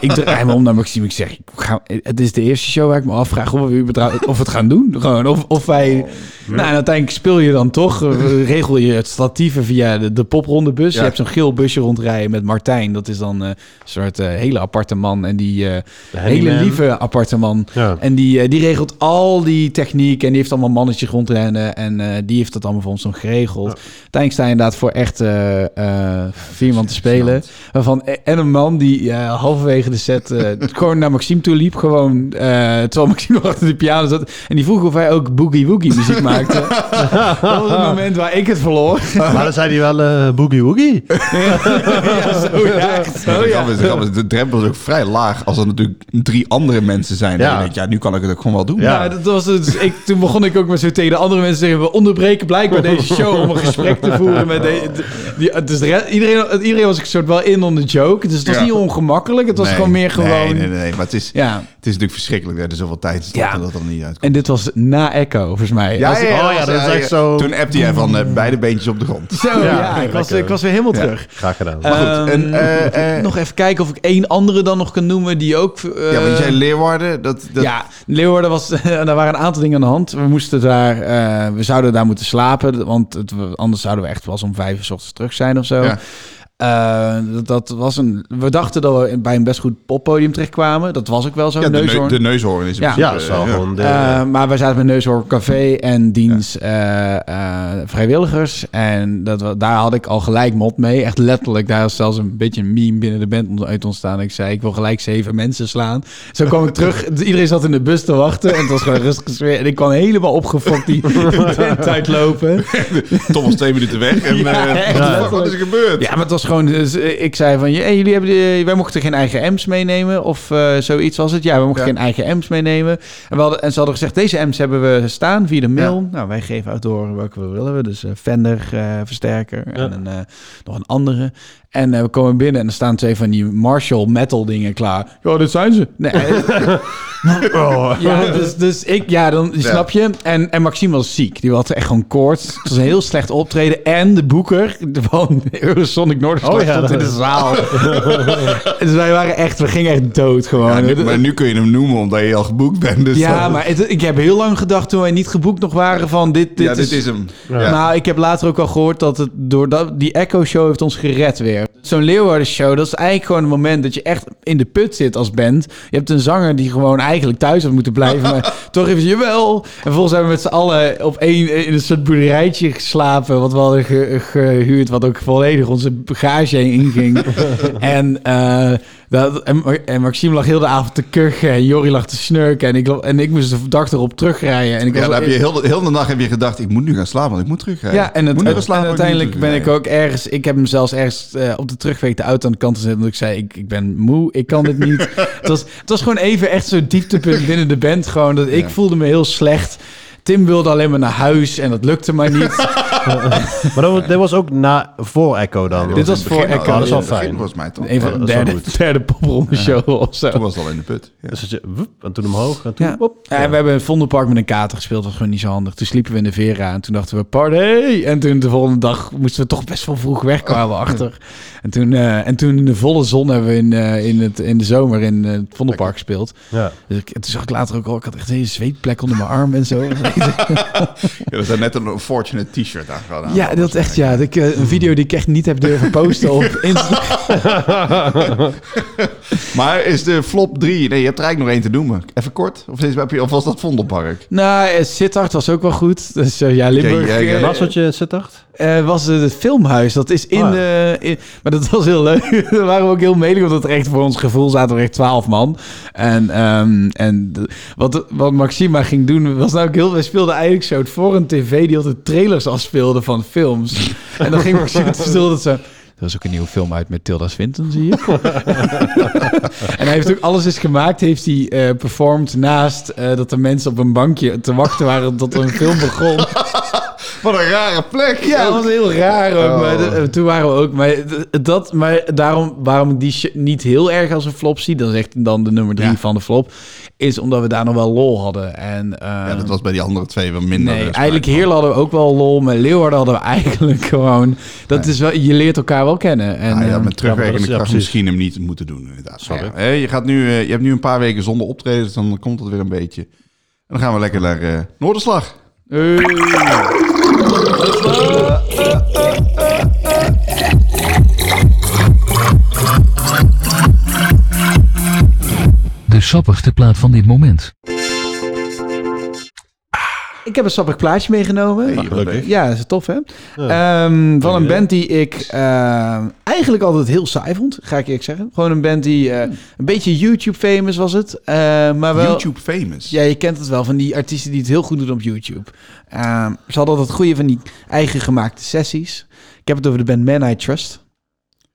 Speaker 2: ik draai me om naar Maxime. Ik zeg, ik ga, het is de eerste show waar ik me afvraag... of we, überhaupt- of we het gaan doen. Gewoon, of, of wij... Nou, en uiteindelijk speel je dan toch. eh, Regel je het statieven via de, de poprondebus.
Speaker 3: Ja.
Speaker 2: Je hebt zo'n geel busje rondrijden met Martijn. Dat is dan eh, een soort eh, hele aparte man. En die... eh, hele
Speaker 4: handyman.
Speaker 2: lieve eh, aparte man.
Speaker 4: Ja.
Speaker 2: En die, eh, die regelt al die techniek. En die heeft allemaal mannetjes rondrennen. En eh, die heeft dat allemaal voor ons dan geregeld. Uiteindelijk sta je inderdaad voor echt eh, eh, vier man te spelen. Waarvan, e-, en een man die eh, halverwege de set eh, gewoon naar Maxime toe liep. Gewoon, eh, terwijl Maxime nog achter de piano zat. En die vroeg of hij ook boogie woogie muziek maakte. dat was het moment waar ik het verloor.
Speaker 4: Maar dan zei hij wel eh, boogie woogie.
Speaker 2: Oh, ja, zo ja, echt
Speaker 4: Oh,
Speaker 2: zo
Speaker 3: de,
Speaker 2: ja.
Speaker 3: grap is, de, grap is, de drempel is ook vrij laag als er natuurlijk drie andere mensen zijn.
Speaker 4: Ja.
Speaker 3: Ja. Denk, je, ja, nu kan ik het ook gewoon wel doen.
Speaker 4: Ja.
Speaker 2: Ja, dat was het. Dus ik, toen begon ik ook maar zo tegen de andere mensen te zeggen... we onderbreken blijkbaar deze show om een gesprek te voeren met... De, de- die, dus de re- iedereen, iedereen was ik soort wel in on the joke. Dus het was
Speaker 3: Ja.
Speaker 2: niet ongemakkelijk. Het was
Speaker 3: Nee,
Speaker 2: gewoon meer gewoon...
Speaker 3: Nee, nee, nee, maar het is,
Speaker 2: Ja.
Speaker 3: het is natuurlijk verschrikkelijk dat er zoveel tijd is
Speaker 2: Ja.
Speaker 3: dat dat er niet uitkomt.
Speaker 2: En dit was na Echo, volgens mij. Als ik-
Speaker 4: oh ja, dat is echt zo-
Speaker 3: Toen appte jij van eh, beide beentjes op de grond.
Speaker 2: Zo, ja, ik,
Speaker 4: lekker.
Speaker 2: was, ik was weer helemaal
Speaker 3: Ja.
Speaker 2: terug.
Speaker 4: Graag gedaan.
Speaker 3: Maar goed, en,
Speaker 2: Ehm,
Speaker 3: eh, eh,
Speaker 2: nog even kijken of ik één andere dan nog kan noemen die ook... eh,
Speaker 3: ja, want jij Leeuwarden, dat, dat
Speaker 2: Ja, Leeuwarden was, daar waren een aantal dingen aan de hand. We moesten daar, eh, we zouden daar moeten slapen, want het, anders zouden we echt pas om vijf uur 's ochtends terug zijn of zo.
Speaker 3: Ja.
Speaker 2: Eh, dat, dat was een, we dachten dat we bij een best goed poppodium terechtkwamen. Dat was ook wel zo.
Speaker 3: ja, de, neu-
Speaker 2: Neushoorn.
Speaker 3: de neushoorn is in
Speaker 2: Ja.
Speaker 4: ja,
Speaker 3: principe,
Speaker 4: dat is wel
Speaker 3: eh,
Speaker 4: gewoon de...
Speaker 2: Eh, maar we zaten met Neushoorn Café en dienst eh, eh, vrijwilligers. En dat, wa- daar had ik al gelijk mot mee. Echt letterlijk. Daar was zelfs een beetje een meme binnen de band ont- uit ontstaan. Ik zei, ik wil gelijk zeven mensen slaan. Zo kwam ik terug. Iedereen zat in de bus te wachten. En het was gewoon rustig sfeer. En ik kwam helemaal opgefokt die tent uitlopen.
Speaker 3: Tom was twee minuten weg. En,
Speaker 2: Ja,
Speaker 3: eh,
Speaker 2: echt,
Speaker 3: what the fuck,
Speaker 2: letterlijk.
Speaker 3: wat is er gebeurd?
Speaker 2: Ja, maar het was gewoon... dus, eh, ik zei van, hey, jullie hebben de- wij mochten geen eigen M's meenemen. Of eh, zoiets was het. Ja, we mochten
Speaker 3: Ja.
Speaker 2: geen eigen M's meenemen. En, we hadden, en ze hadden gezegd, deze M's hebben we staan via de mail. Nou, wij geven uit door welke we willen. we. Dus eh, Fender, eh, versterker en een, eh, nog een andere. En eh, we komen binnen en er staan twee van die Marshall metal dingen klaar. Ja, dit zijn ze. Nee, eh,
Speaker 4: Oh.
Speaker 2: ja, dus, dus ik, ja, dan snap je. En, en Maxime was ziek. Die had echt gewoon koorts. Het was een heel slecht optreden. En de boeker van Eurosonic Noorderslag
Speaker 4: Oh ja,
Speaker 2: stond in
Speaker 4: dat-
Speaker 2: de zaal. dus wij waren echt, we gingen echt dood gewoon.
Speaker 3: Ja, nu- maar nu kun je hem noemen omdat je al geboekt bent. Dus
Speaker 2: Ja,
Speaker 3: dan-
Speaker 2: maar het- ik heb heel lang gedacht toen wij niet geboekt nog waren van dit, dit,
Speaker 3: ja, dit is hem. Ja.
Speaker 2: Maar Nou, ik heb later ook al gehoord dat het door dat, die Echo Show heeft ons gered weer. Zo'n Leeuwarden Show, dat is eigenlijk gewoon een moment dat je echt in de put zit als band. Je hebt een zanger die gewoon eigenlijk thuis had moeten blijven, maar toch even jawel. En vervolgens hebben we met z'n allen op één in een soort boerderijtje geslapen, wat we hadden ge- gehuurd, wat ook volledig onze bagage heen inging. en, eh, dat, en, en Maxime lag heel de avond te kuchen en Jorrie lag te snurken en ik, en ik moest de dag erop terugrijden. En ik
Speaker 3: Ja,
Speaker 2: was,
Speaker 3: dan heb je heel de, heel de nacht heb je gedacht, ik moet nu gaan slapen, want ik moet terugrijden.
Speaker 2: ja, en,
Speaker 3: Ik
Speaker 2: het,
Speaker 3: moet nu gaan
Speaker 2: en
Speaker 3: slapen, want
Speaker 2: uiteindelijk
Speaker 3: moet
Speaker 2: ben ik
Speaker 3: terugrijden.
Speaker 2: ook ergens... Ik heb hem zelfs ergens eh, op de terugweg de auto aan de kant gezet... omdat ik zei, ik, ik ben moe, ik kan dit niet. het, was, het was gewoon even echt zo'n dieptepunt binnen de band. Gewoon, dat ik voelde me heel slecht. Tim wilde alleen maar naar huis en dat lukte maar niet.
Speaker 4: maar dat, was- dit was ook na, voor Echo dan.
Speaker 2: Dit
Speaker 4: Dit
Speaker 2: was
Speaker 3: In het
Speaker 2: voor
Speaker 3: begin al,
Speaker 2: Echo,
Speaker 3: in
Speaker 4: dat is wel
Speaker 3: het begin
Speaker 4: fijn.
Speaker 3: Volgens mij toch?
Speaker 2: Een van de
Speaker 4: dat is wel
Speaker 2: derde, derde popronde show of zo.
Speaker 3: Toen was het al in de put. Ja.
Speaker 4: dus dat je, woep, en toen omhoog en toen
Speaker 2: Ja.
Speaker 4: op.
Speaker 2: Ja, en we hebben in Vondelpark met een kater gespeeld. Dat was gewoon niet zo handig. Toen sliepen we in de Vera en toen dachten we party. En toen de volgende dag moesten we toch best wel vroeg weg, kwamen we achter. En toen, eh, en toen in de volle zon hebben we in, eh, in, het, in de zomer in eh, het Vondelpark gespeeld.
Speaker 4: Ja.
Speaker 2: Dus ik, toen zag ik later ook al, ik had echt een hele zweetplek onder mijn arm en zo.
Speaker 3: Ja, we zijn net een Fortunate t-shirt aan gedaan.
Speaker 2: ja, dat echt, ja. Dat ik, eh, een video die ik echt niet heb durven posten op Instagram.
Speaker 3: Maar is de flop 3? Nee, je hebt er eigenlijk nog één te noemen. Even kort. Of, is, heb je, of was dat Vondelpark?
Speaker 2: Nou, eh, Sittard was ook wel goed. Dus eh, ja, Limburg
Speaker 3: Ja, ja,
Speaker 2: eh,
Speaker 3: ja.
Speaker 4: Was wat je zit
Speaker 2: eh, was eh, het filmhuis. Dat is in
Speaker 4: Ah.
Speaker 2: de... in- maar dat was heel leuk. Daar waren we ook heel melig, omdat er echt voor ons gevoel zaten er echt twaalf man. En, ehm, en de- wat, wat Maxima ging doen, was nou ook heel... We speelden eigenlijk zo het voor een tv die altijd trailers afspeelde van films. En dan ging Maxima te stil dat ze... Er was ook een nieuwe film uit met Tilda Swinton, zie je. En hij heeft ook alles is gemaakt, heeft hij eh, performed naast eh, dat er mensen op een bankje te wachten waren tot er een film begon.
Speaker 3: Wat een rare plek.
Speaker 2: Ja, dat was heel raar ook.
Speaker 3: Oh.
Speaker 2: Maar de- eh, toen waren we ook. Maar, d- dat, maar daarom waarom ik die sh- niet heel erg als een flop zie, dan zegt dan de nummer drie
Speaker 3: Ja.
Speaker 2: van de flop, is omdat we daar nog wel lol hadden. En,
Speaker 3: Ja,
Speaker 2: ehm,
Speaker 3: dat was bij die andere twee wel minder.
Speaker 2: Nee,
Speaker 3: dus,
Speaker 2: eigenlijk
Speaker 3: maar-
Speaker 2: Heerlen hadden we ook wel lol, maar Leeuwarden hadden we eigenlijk gewoon... Dat is wel, je leert elkaar wel kennen. En,
Speaker 3: Ah, ja,
Speaker 2: ehm,
Speaker 3: met
Speaker 4: ja,
Speaker 3: terugwerkende
Speaker 4: precies.
Speaker 3: kracht misschien hem niet moeten doen, inderdaad.
Speaker 4: Sorry.
Speaker 3: Maar ja, hè, je, gaat nu, eh, je hebt nu een paar weken zonder optredens, dan komt dat weer een beetje. En dan gaan we lekker naar eh, Noorderslag.
Speaker 8: De sappigste plaat van dit moment.
Speaker 2: Ik heb een sappig plaatje meegenomen.
Speaker 4: gelukkig.
Speaker 2: Ja, dat is tof, hè? Ehm, van een band die ik ehm, eigenlijk altijd heel saai vond, ga ik eerlijk zeggen. Gewoon een band die eh, een beetje YouTube-famous was het. eh, maar wel,
Speaker 3: YouTube famous.
Speaker 2: Ja, je kent het wel van die artiesten die het heel goed doen op YouTube. Ehm, ze hadden altijd het goede van die eigen gemaakte sessies. Ik heb het over de band Man I Trust.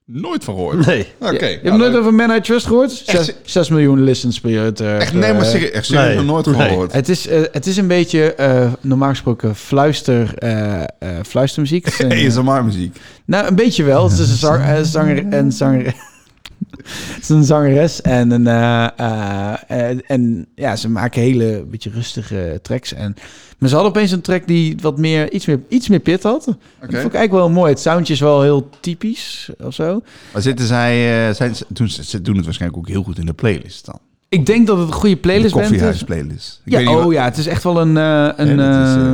Speaker 3: Nooit van gehoord.
Speaker 4: Nee.
Speaker 3: Oké. nou,
Speaker 2: je hebt nooit over Man I Trust gehoord?
Speaker 3: Echt-
Speaker 2: 6, miljoen listens per jaar. Het, eh,
Speaker 3: Echt, nee, maar
Speaker 2: eh,
Speaker 3: serieus, echt serieus
Speaker 4: nee.
Speaker 3: nog nooit
Speaker 4: Nee.
Speaker 3: gehoord.
Speaker 2: het is, eh, het is een beetje, eh, normaal gesproken, fluister, eh, eh, fluistermuziek. Het is een, eh,
Speaker 3: ASMR-muziek.
Speaker 2: Nou, een beetje wel. Het is een zang, eh, zanger en zanger. Het is een zangeres en een. eh, eh, en, en ja, ze maken hele beetje rustige tracks. En, maar ze hadden opeens een track die wat meer, iets meer, iets meer pit had. Dat vond ik eigenlijk wel mooi. Het soundje is wel heel typisch of zo.
Speaker 3: Maar zitten zij, eh, zijn, ze, doen, ze ze doen het waarschijnlijk ook heel goed in de playlist dan.
Speaker 2: Ik denk dat het een goede
Speaker 3: De
Speaker 2: playlist bent.
Speaker 3: koffiehuis playlist.
Speaker 2: Ja, oh ja, het is echt wel een. eh, een eh,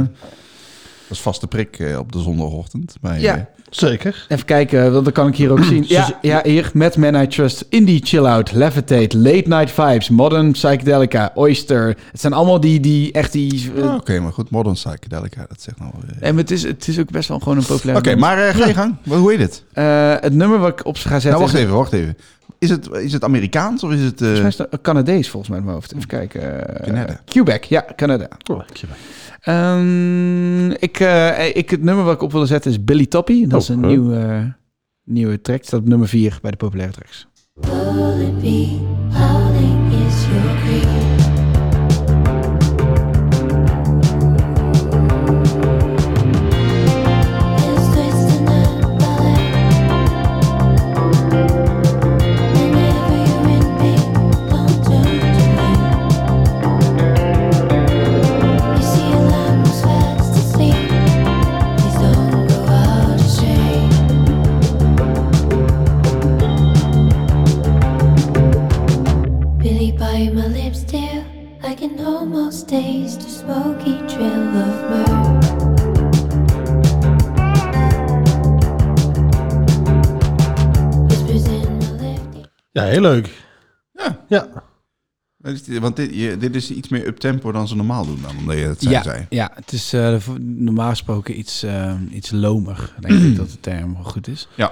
Speaker 3: dat is vaste prik eh, op de zondagochtend. Bij,
Speaker 2: Ja.
Speaker 3: eh,
Speaker 4: Zeker.
Speaker 2: Even kijken, want dat kan ik hier ook zien. Ja, ja hier, met Man I Trust, Indie Chill Out, Levitate, Late Night Vibes, Modern Psychedelica, Oyster. Het zijn allemaal die, die echt die... eh,
Speaker 3: ah, Oké, maar goed. Modern Psychedelica, dat zegt nou... eh.
Speaker 2: En het is, het is ook best wel gewoon een
Speaker 3: Oké,
Speaker 2: populair nummer.
Speaker 3: maar eh, ga je gang. Wat- Hoe heet het?
Speaker 2: Eh, het nummer wat ik op ga zetten
Speaker 3: nou, wacht
Speaker 2: is-
Speaker 3: even, wacht even. Is het, is het Amerikaans of is het... eh,
Speaker 2: Volgens mij is het Canadees volgens mij in mijn hoofd. Even kijken. eh,
Speaker 3: Canada.
Speaker 2: Quebec, ja, Canada.
Speaker 4: Oh,
Speaker 2: Ehm, ik, eh, ik, het nummer wat ik op wil zetten is Billy Toppy. Dat
Speaker 3: Oh,
Speaker 2: is een
Speaker 4: huh.
Speaker 2: nieuw, eh, nieuwe track. Staat op nummer 4 bij de populaire tracks.
Speaker 9: Holding me, holding is your grief. It's twisting that ballet. Whenever you're in pain, don't turn to me. You see a lamp was fast asleep. Please don't go out of shape. Billy by my lips still I can almost taste the smoky trail of myrrh Whispers in my left ear
Speaker 4: Ja, heel leuk.
Speaker 3: Ja.
Speaker 4: Ja.
Speaker 3: wat is dit? Want dit, je- dit is iets meer uptempo dan ze normaal doen dan. Omdat je het zei.
Speaker 2: ja,
Speaker 3: zei.
Speaker 2: ja, het is eh, v- normaal gesproken iets, eh, iets lomer, denk ik dat de term wel goed is.
Speaker 3: Ja.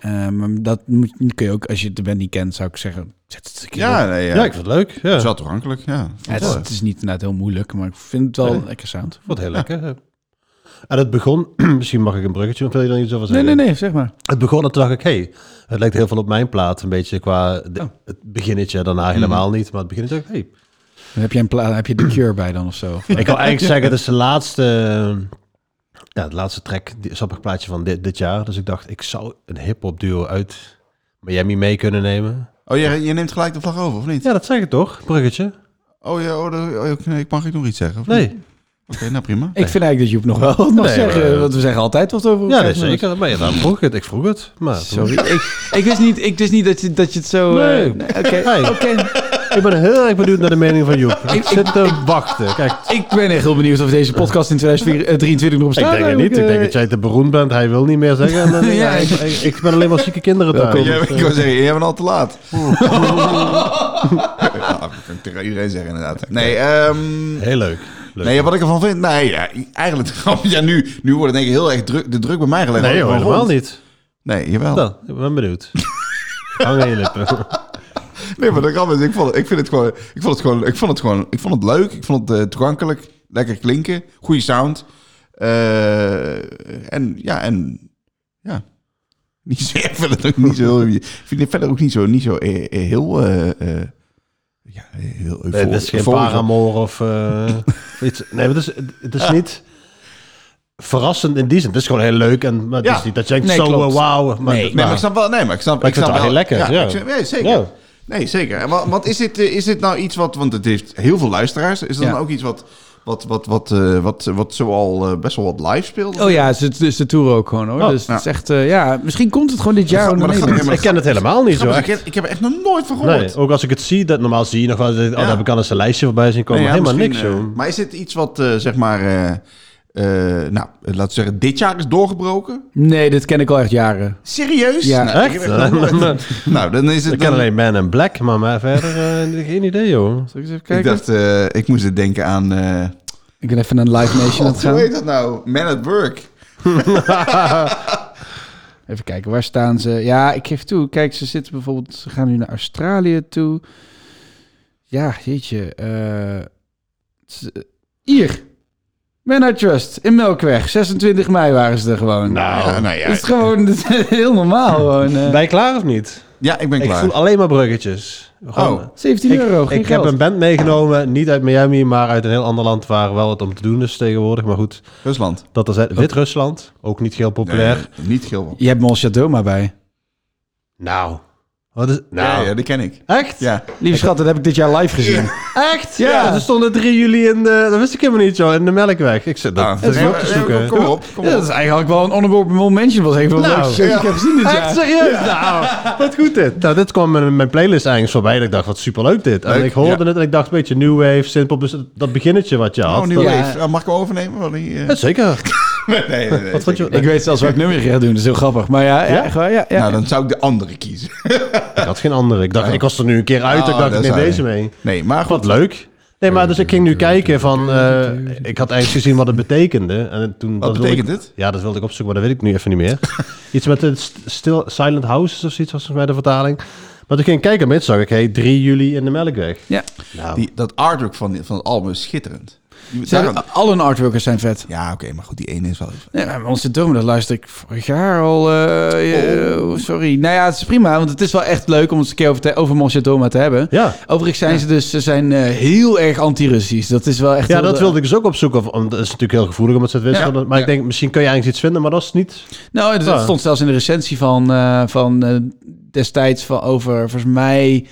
Speaker 2: Eh, maar dat moet, kun je ook, als je de band niet kent, zou ik zeggen, zet het een keer op.
Speaker 3: Ja, nee, ja.
Speaker 4: Ja, ik vond het leuk. Ja.
Speaker 3: Het is
Speaker 4: Ik
Speaker 3: wel toegankelijk, ja.
Speaker 2: Ja, het, is, het is niet inderdaad heel moeilijk, maar ik vind het wel
Speaker 4: Nee.
Speaker 2: lekker sound.
Speaker 4: vond het heel lekker. ja. En het begon, misschien mag ik een bruggetje, of wil je er iets over
Speaker 2: Nee,
Speaker 4: zeggen?
Speaker 2: nee, nee, zeg maar.
Speaker 4: Het begon en toen dacht ik, hey, het lijkt heel veel op mijn plaat. Een beetje qua de-
Speaker 2: Oh. Mm.
Speaker 4: het beginnetje, daarna helemaal niet. Maar het beginnetje dacht ik, hey.
Speaker 2: Dan heb je, een pla- heb je de cure bij dan of zo? Of, eh,
Speaker 4: Ik wil eigenlijk zeggen, het is de laatste, eh, ja, het laatste track, die- sappig plaatje van dit, dit jaar. Dus ik dacht, ik zou een hip-hop duo uit Miami mee kunnen nemen.
Speaker 3: Oh, je, je neemt gelijk de vlag over, of niet?
Speaker 4: Ja, dat zeg ik toch? Bruggetje?
Speaker 3: Oh, ja, oh, dat- oh, ik- nee, ik mag ik nog iets zeggen? of niet?
Speaker 4: Nee.
Speaker 3: Oké, nou prima.
Speaker 2: ik vind eigenlijk dat Joep nog wel wat mag
Speaker 4: Nee,
Speaker 2: zeggen,
Speaker 4: eh,
Speaker 2: want we zeggen altijd wat over
Speaker 4: Ja,
Speaker 2: elkaar.
Speaker 4: nee, zeker. Maar ja, dan vroeg ik het. Ik vroeg het. Maar
Speaker 2: Sorry, ik, ik wist niet, ik wist niet dat, je, dat je het zo... eh,
Speaker 4: Nee.
Speaker 2: Oké,
Speaker 4: Hey.
Speaker 2: oké.
Speaker 4: Ik ben heel erg benieuwd naar de mening van Joep. Ik zit te wachten. Kijk,
Speaker 2: Ik ben echt heel benieuwd of deze podcast in 2023 nog
Speaker 4: ik
Speaker 2: bestaat.
Speaker 4: denk het niet. Ik denk dat jij te beroemd bent. Hij wil niet meer zeggen. En dan-
Speaker 2: Ja,
Speaker 4: ja, ik, ik- ik ben alleen maar zieke kinderen
Speaker 3: Ja,
Speaker 4: thuis.
Speaker 3: maar
Speaker 4: Dus,
Speaker 3: ik
Speaker 4: eh,
Speaker 3: wou zeggen, Nou, jij bent al te laat. ja, dat kan ik tegen iedereen zeggen inderdaad. Nee, ehm,
Speaker 4: Heel leuk. leuk.
Speaker 3: nee, wat ik ervan vind? Nee, ja, eigenlijk... Ja, nu, nu wordt het denk ik heel erg druk, de druk bij mij gelegd. Want
Speaker 4: Nee, hoor,
Speaker 3: ik ben
Speaker 4: helemaal
Speaker 3: rond.
Speaker 4: niet.
Speaker 3: Nee, jawel.
Speaker 4: Nou, ik ben benieuwd. Hang aan je lippen.
Speaker 3: Nee, maar de grap is, ik vond, het- ik, vind het gewoon, ik vond het gewoon... Ik vond het gewoon... Ik vond het leuk. Ik vond het eh, toegankelijk. Lekker klinken. Goede sound. Eh, en ja, en... Ja. Niet zo, ik vind het ook niet zo... Ik vind het verder ook niet zo, niet zo eh, eh, heel... eh, eh, ja, heel
Speaker 4: Nee, het is geen
Speaker 3: euforisch.
Speaker 4: paramoor of eh, of iets. Nee, maar het is, het is niet verrassend in die zin. Het is gewoon heel leuk. En, maar het
Speaker 3: Ja.
Speaker 4: is niet dat je denkt,
Speaker 2: Nee,
Speaker 4: zo
Speaker 2: klopt.
Speaker 4: eh, wauw. Maar,
Speaker 2: Nee.
Speaker 3: Nee, maar ik snap wel. Nee, maar ik snap.
Speaker 4: Maar Nou. ik
Speaker 3: snap
Speaker 4: vind het wel heel lekker, ja.
Speaker 3: ik snap- nee, zeker.
Speaker 4: Ja.
Speaker 3: Nee, zeker. En wat, wat is dit? eh, Is dit nou iets wat? Want het heeft heel veel luisteraars. Is dat
Speaker 2: Ja.
Speaker 3: dan ook iets wat wat wat wat eh, wat wat zoal eh, best wel wat live speelt?
Speaker 2: Oh ja, ze, ze, ze toeren ook gewoon hoor.
Speaker 4: Oh,
Speaker 2: dus
Speaker 3: ja.
Speaker 2: het is echt, eh, ja, misschien komt het gewoon dit jaar.
Speaker 3: gaat-
Speaker 2: ook
Speaker 3: maar
Speaker 2: naar
Speaker 3: dat gaat-
Speaker 2: Nederland.
Speaker 3: maar
Speaker 4: ik ken het helemaal niet zo
Speaker 3: Grappig,
Speaker 4: echt.
Speaker 3: ik, heb- ik heb er echt nog nooit van gehoord.
Speaker 4: Nee, oh, ook als ik het zie, dat normaal zie je nog wel, oh, daar heb ik al eens een lijstje voorbij zien komen.
Speaker 3: Nee, ja,
Speaker 4: helemaal niks,
Speaker 3: misschien,
Speaker 4: joh.
Speaker 3: eh, maar is dit iets wat eh, zeg maar? eh, eh, nou, eh, laten we zeggen, dit jaar is doorgebroken.
Speaker 2: Nee, dit ken ik al echt jaren.
Speaker 3: Serieus?
Speaker 2: Ja.
Speaker 3: nou, ik heb
Speaker 4: Echt?
Speaker 3: nog nooit- nou, dan is het.
Speaker 4: ik ken
Speaker 3: dan-
Speaker 4: alleen Man in Black, maar, maar verder eh, geen idee, joh.
Speaker 2: Zal ik eens even
Speaker 3: Ik
Speaker 2: kijken? Ik,
Speaker 3: dacht, eh, ik moest het denken aan. eh
Speaker 2: ben even naar Live Nation aan het
Speaker 3: God, hoe
Speaker 2: gaan.
Speaker 3: heet dat nou? Man at Work.
Speaker 2: Even kijken, waar staan ze? Ja, ik geef toe. Kijk, ze zitten bijvoorbeeld, ze gaan nu naar Australië toe. Ja, jeetje. eh, ze- hier. Men I Trust in Melkweg. 26 mei waren ze er gewoon.
Speaker 3: Ja, nou ja.
Speaker 2: Het is gewoon het is heel normaal. Gewoon, eh.
Speaker 4: Ben je klaar of niet?
Speaker 3: Ja, ik ben
Speaker 4: Ik
Speaker 3: klaar.
Speaker 4: voel alleen maar bruggetjes. Gewoon,
Speaker 3: Oh.
Speaker 2: 17
Speaker 4: Ik,
Speaker 2: euro. geen
Speaker 4: ik heb
Speaker 2: geld.
Speaker 4: een band meegenomen, niet uit Miami, maar uit een heel ander land waar wel wat om te doen is tegenwoordig. Maar goed,
Speaker 3: Rusland.
Speaker 4: dat is Wit-Rusland, ook eh, niet heel populair.
Speaker 3: Nee, niet Gilbert.
Speaker 2: Je hebt Mol Chadoma bij.
Speaker 4: Nou, wat is... Nou,
Speaker 3: Ja, ja, die ken ik.
Speaker 4: echt?
Speaker 3: Ja.
Speaker 2: Lieve schat, dat heb ik dit jaar live gezien.
Speaker 4: Echt?
Speaker 2: Ja.
Speaker 4: Ja. ze stonden 3 juli in de... Dat wist ik helemaal niet, joh, in de Melkweg. Ik zit dat,
Speaker 3: Ah,
Speaker 4: dat is
Speaker 3: nee,
Speaker 4: niet op te
Speaker 3: nee,
Speaker 4: zoeken.
Speaker 3: Kom op, kom
Speaker 2: Ja, dat
Speaker 3: op.
Speaker 2: is eigenlijk wel een honorable mention. was een van de
Speaker 4: Nou,
Speaker 2: leukste shows die ik heb gezien dit
Speaker 4: Echt
Speaker 2: jaar.
Speaker 4: serieus? Nou, wat goed dit. Nou, dit kwam in mijn playlist eigenlijk voorbij. En ik dacht, wat superleuk dit. En
Speaker 3: Leuk,
Speaker 4: ik hoorde
Speaker 3: ja.
Speaker 4: het en ik dacht, een beetje new wave, simpel. Dus dat beginnetje wat je had.
Speaker 3: Oh, nu
Speaker 4: dat-
Speaker 2: Ja.
Speaker 3: Wave. Eh, Mag ik hem overnemen? Van die, eh?
Speaker 4: Ja, zeker.
Speaker 3: Nee, nee, nee.
Speaker 4: Wat vond je...
Speaker 2: Ik weet zelfs welk nummer je gaat doen. Dat is heel grappig. Maar ja, ja,
Speaker 4: Ja?
Speaker 2: echt waar, ja, ja.
Speaker 3: Nou, dan zou ik de andere kiezen.
Speaker 4: Ik had geen andere. Ik dacht,
Speaker 3: Oh.
Speaker 4: ik was er nu een keer uit. ik
Speaker 3: Ah,
Speaker 4: dacht,
Speaker 3: dat
Speaker 4: ik neem
Speaker 3: zou je.
Speaker 4: deze mee.
Speaker 3: Nee, maar goed.
Speaker 4: Wat leuk. Nee, maar dus ik ging nu kijken van... eh, ik had eigenlijk gezien wat het betekende. En toen,
Speaker 3: Wat
Speaker 4: dat wilde
Speaker 3: betekent
Speaker 4: ik-
Speaker 3: dit?
Speaker 4: Ja, dat wilde ik opzoeken, maar dat weet ik nu even niet meer. Iets met het st- stil, Silent Houses of zoiets was volgens mij de vertaling. Maar toen ging ik kijken, en zag ik, hey, 3 juli in de Melkweg.
Speaker 2: ja.
Speaker 4: Nou,
Speaker 3: Die, dat artwork van, die- van het album is schitterend. Die-
Speaker 2: Ze
Speaker 3: daarom-
Speaker 4: Ah.
Speaker 2: hebben, alle artworkers zijn vet.
Speaker 3: ja, oké, maar goed, die ene is wel...
Speaker 2: Nee, maar onze dom, dat luister ik vorig jaar al. eh, eh, Sorry. Nou ja, het is prima, want het is wel echt leuk om het eens een keer over, te, over Monsieur Doma te hebben.
Speaker 4: Ja.
Speaker 2: Overigens zijn ze dus ze zijn, eh, heel erg anti-Russisch. Dat is wel echt...
Speaker 4: ja,
Speaker 2: heel-
Speaker 4: dat wilde ik dus ook opzoeken. of- om- Dat is natuurlijk heel gevoelig om het te wisselen.
Speaker 3: Ja.
Speaker 4: maar ik
Speaker 3: Ja.
Speaker 4: denk, misschien kun je eigenlijk iets vinden, maar dat is niet...
Speaker 2: Nou, het, het
Speaker 4: Ah.
Speaker 2: stond zelfs in de recensie van, eh, van eh, destijds van over, volgens mij,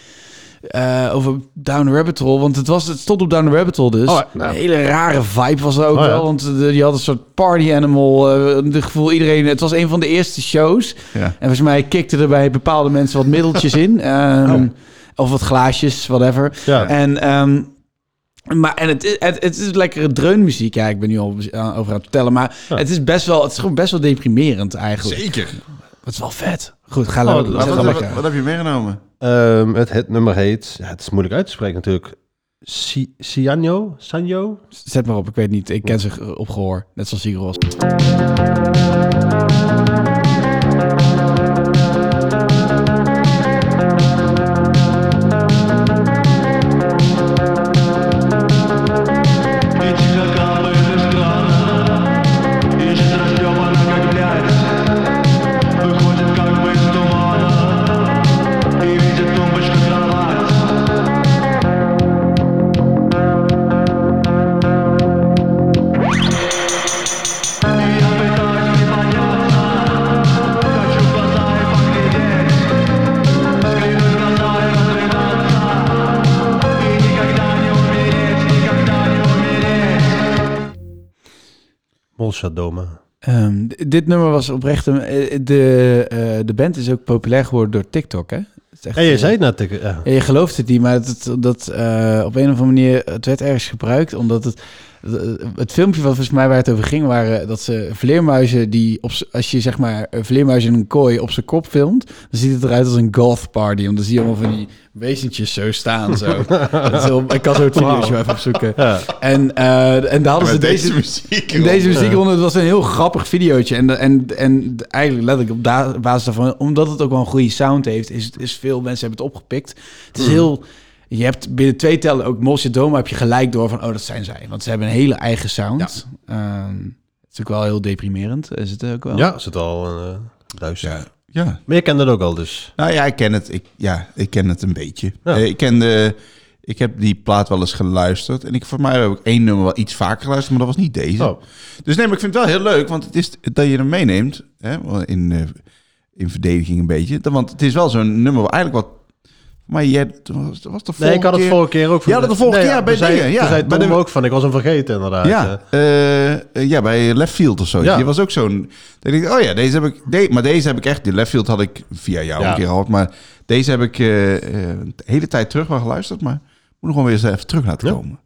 Speaker 2: eh, over Down the Rabbit Hole. Want het, was, het stond op Down the Rabbit Hole dus.
Speaker 4: Oh, ja.
Speaker 2: Een hele rare vibe was er ook
Speaker 4: Oh, ja.
Speaker 2: wel. Want eh, de- je had een soort party animal. eh, het gevoel iedereen... Het was een van de eerste shows.
Speaker 3: Ja.
Speaker 2: En volgens mij kikten er bij bepaalde mensen wat middeltjes in. ehm, Of wat glaasjes, whatever.
Speaker 4: Oh. Ja.
Speaker 2: En... ehm, maar en het, is- het, het is lekkere dreunmuziek. Ja, ik ben nu al eh, over aan het vertellen. Maar
Speaker 4: Ja.
Speaker 2: het is best wel, het is gewoon best wel deprimerend eigenlijk.
Speaker 3: Zeker.
Speaker 2: Het is wel vet. Goed, ga
Speaker 4: Oh,
Speaker 2: oh,
Speaker 4: laten
Speaker 3: Maar
Speaker 4: we
Speaker 3: wat,
Speaker 4: lekker.
Speaker 3: wat, wat heb je meegenomen?
Speaker 4: Ehm, het, het nummer heet... Ja, het is moeilijk uit te spreken natuurlijk. Si- Sianjo? Sanjo?
Speaker 2: Zet maar op, ik weet niet. Ik ken ze op gehoor. Net zoals Sigros.
Speaker 4: Molsadoma.
Speaker 2: Ehm, d- dit nummer was oprecht... een- eh, de, eh, de band is ook populair geworden door TikTok, hè? is echt,
Speaker 4: En je
Speaker 2: eh,
Speaker 4: zei het net tegen... Ja.
Speaker 2: ja, je gelooft het niet, maar het, het- dat eh, op een of andere manier, het werd ergens gebruikt omdat het, het- het filmpje wat volgens mij waar het over ging, waren dat ze vleermuizen die, op, z'n- als je zeg maar eh, vleermuizen in een kooi op zijn kop filmt, dan ziet het eruit als een goth party, want dan zie je allemaal van die wezentjes zo staan. Zo. Dat is heel- ik kan zo het video's wel even opzoeken. En, eh, en daar hadden ze
Speaker 3: Met
Speaker 2: deze,
Speaker 3: deze muziek.
Speaker 2: in deze muziekronde het was een heel grappig videootje. En, en, en eigenlijk letterlijk op da- basis daarvan, omdat het ook wel een goede sound heeft, is, het- is veel mensen hebben het opgepikt. Het
Speaker 4: Hmm.
Speaker 2: is heel. Je hebt binnen twee tellen ook Mosje Doma heb je gelijk door van oh, dat zijn zij. Want ze hebben een hele eigen sound. Ehm, het is ook wel heel deprimerend, is het ook wel.
Speaker 4: Ja, is het al eh duizend.
Speaker 3: Ja,
Speaker 4: Maar je kende dat ook al dus.
Speaker 3: Nou ja, ik ken het. Ik, ja, ik ken het een beetje.
Speaker 4: Ja.
Speaker 3: Eh, ik, ken de, ik heb die plaat wel eens geluisterd. En ik, voor mij heb ik één nummer wel iets vaker geluisterd, maar dat was niet deze.
Speaker 4: Oh.
Speaker 3: Dus nee, maar ik vind het wel heel leuk, want het is dat je hem meeneemt. Hè, in, eh, in verdediging een beetje. Dan- Want het is wel zo'n nummer waar eigenlijk wat... Maar jij het was, het was de vorige
Speaker 4: Nee, ik had het
Speaker 3: keer-
Speaker 4: vorige keer ook.
Speaker 3: Ja, dat de vorige keer, bij
Speaker 4: toen zei-
Speaker 3: dingen, ja.
Speaker 4: toen zei
Speaker 3: Bij
Speaker 4: Tom
Speaker 3: de-
Speaker 4: ook van, ik was hem vergeten inderdaad.
Speaker 3: Ja, eh, eh, ja, bij Left Field of zo.
Speaker 4: Ja.
Speaker 3: Die was ook zo'n... Dan denk ik, oh ja, deze heb ik... de- maar deze heb ik echt... Die Left Field had ik via jou
Speaker 4: Ja.
Speaker 3: een keer gehad. Maar deze heb ik eh, eh, de hele tijd terug wel geluisterd. Maar moet er gewoon weer eens even terug laten
Speaker 4: Ja.
Speaker 3: komen.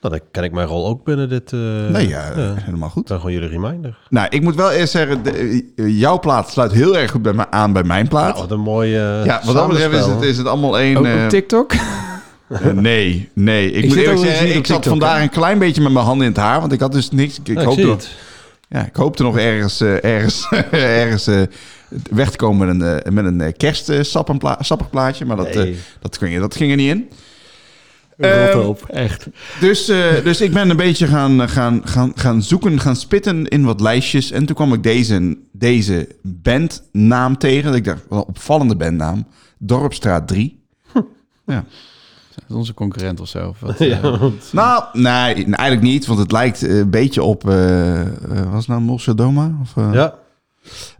Speaker 4: Nou, Dan ken ik mijn rol ook binnen dit... eh
Speaker 3: nee, ja,
Speaker 4: ja.
Speaker 3: helemaal goed.
Speaker 4: Dan gewoon jullie reminder.
Speaker 3: Nou, ik moet wel eerst zeggen... de- eh, jouw plaat sluit heel erg goed bij mij aan bij mijn plaat.
Speaker 4: Nou, wat een mooie eh,
Speaker 3: Ah. ja, wat dat betreft is
Speaker 4: samenspel.
Speaker 3: het, is het allemaal één...
Speaker 2: Ook
Speaker 3: eh,
Speaker 2: op TikTok.
Speaker 3: Eh, Nee, nee. Ik,
Speaker 2: zit
Speaker 3: moet eerlijk
Speaker 2: overigens niet
Speaker 3: zeggen,
Speaker 2: op
Speaker 3: ik zat
Speaker 2: TikTok,
Speaker 3: vandaag
Speaker 2: hè?
Speaker 3: een klein beetje met mijn handen in het haar, want ik had dus niks. Ik,
Speaker 4: Ja,
Speaker 3: hoopte,
Speaker 4: Nou, zie
Speaker 3: nog-
Speaker 4: het.
Speaker 3: ja, ik hoopte nog ergens, eh, ergens, ergens eh, weg te komen met een, eh, met een eh, kerst, eh, sappenpla- sappig plaatje, maar dat,
Speaker 4: Nee.
Speaker 3: eh, dat, ging, dat ging er niet in.
Speaker 2: Rot
Speaker 3: Ehm,
Speaker 2: op, echt.
Speaker 3: Dus, eh, dus ik ben een beetje gaan, eh, gaan, gaan, gaan zoeken, gaan spitten in wat lijstjes. En toen kwam ik deze, deze bandnaam tegen. Ik dacht, wel een opvallende bandnaam. Dorpstraat 3. Ja.
Speaker 2: Dat is onze concurrent of zo. of wat, eh.
Speaker 4: Ja.
Speaker 3: Nou, nee, eigenlijk niet, want het lijkt eh, een beetje op. eh eh, was het nou Mossadoma? Of, eh,
Speaker 4: ja.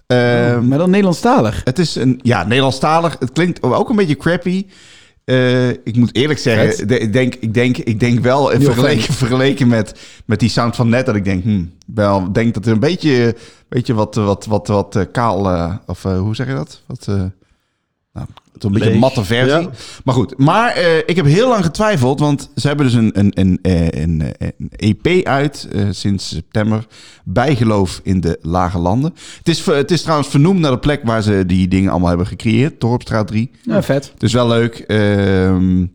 Speaker 3: eh,
Speaker 2: Maar dan Nederlandstalig.
Speaker 3: het is een. Ja, Nederlandstalig. Het klinkt ook een beetje crappy. Eh, ik moet eerlijk zeggen,
Speaker 2: Vet.
Speaker 3: de- ik, denk, ik, denk, ik denk wel, eh,
Speaker 2: Heel
Speaker 3: vergeleken, vergeleken met, met die sound van net, dat ik denk, hmm, wel, denk dat er een beetje, beetje wat, wat, wat, wat eh, kaal, eh, of eh, hoe zeg je dat? Wat, eh, nou, het een beetje
Speaker 4: Leeg,
Speaker 3: een matte versie.
Speaker 4: ja.
Speaker 3: Maar goed, maar eh, ik heb heel lang getwijfeld, want ze hebben dus een, een, een, eh, een, eh, een EP uit eh, sinds september. Bijgeloof in de Lage Landen. Het is, ver- het is trouwens vernoemd naar de plek waar ze die dingen allemaal hebben gecreëerd, Torpstraat 3.
Speaker 2: Ja, Nou, vet.
Speaker 3: Dus wel leuk. Ehm,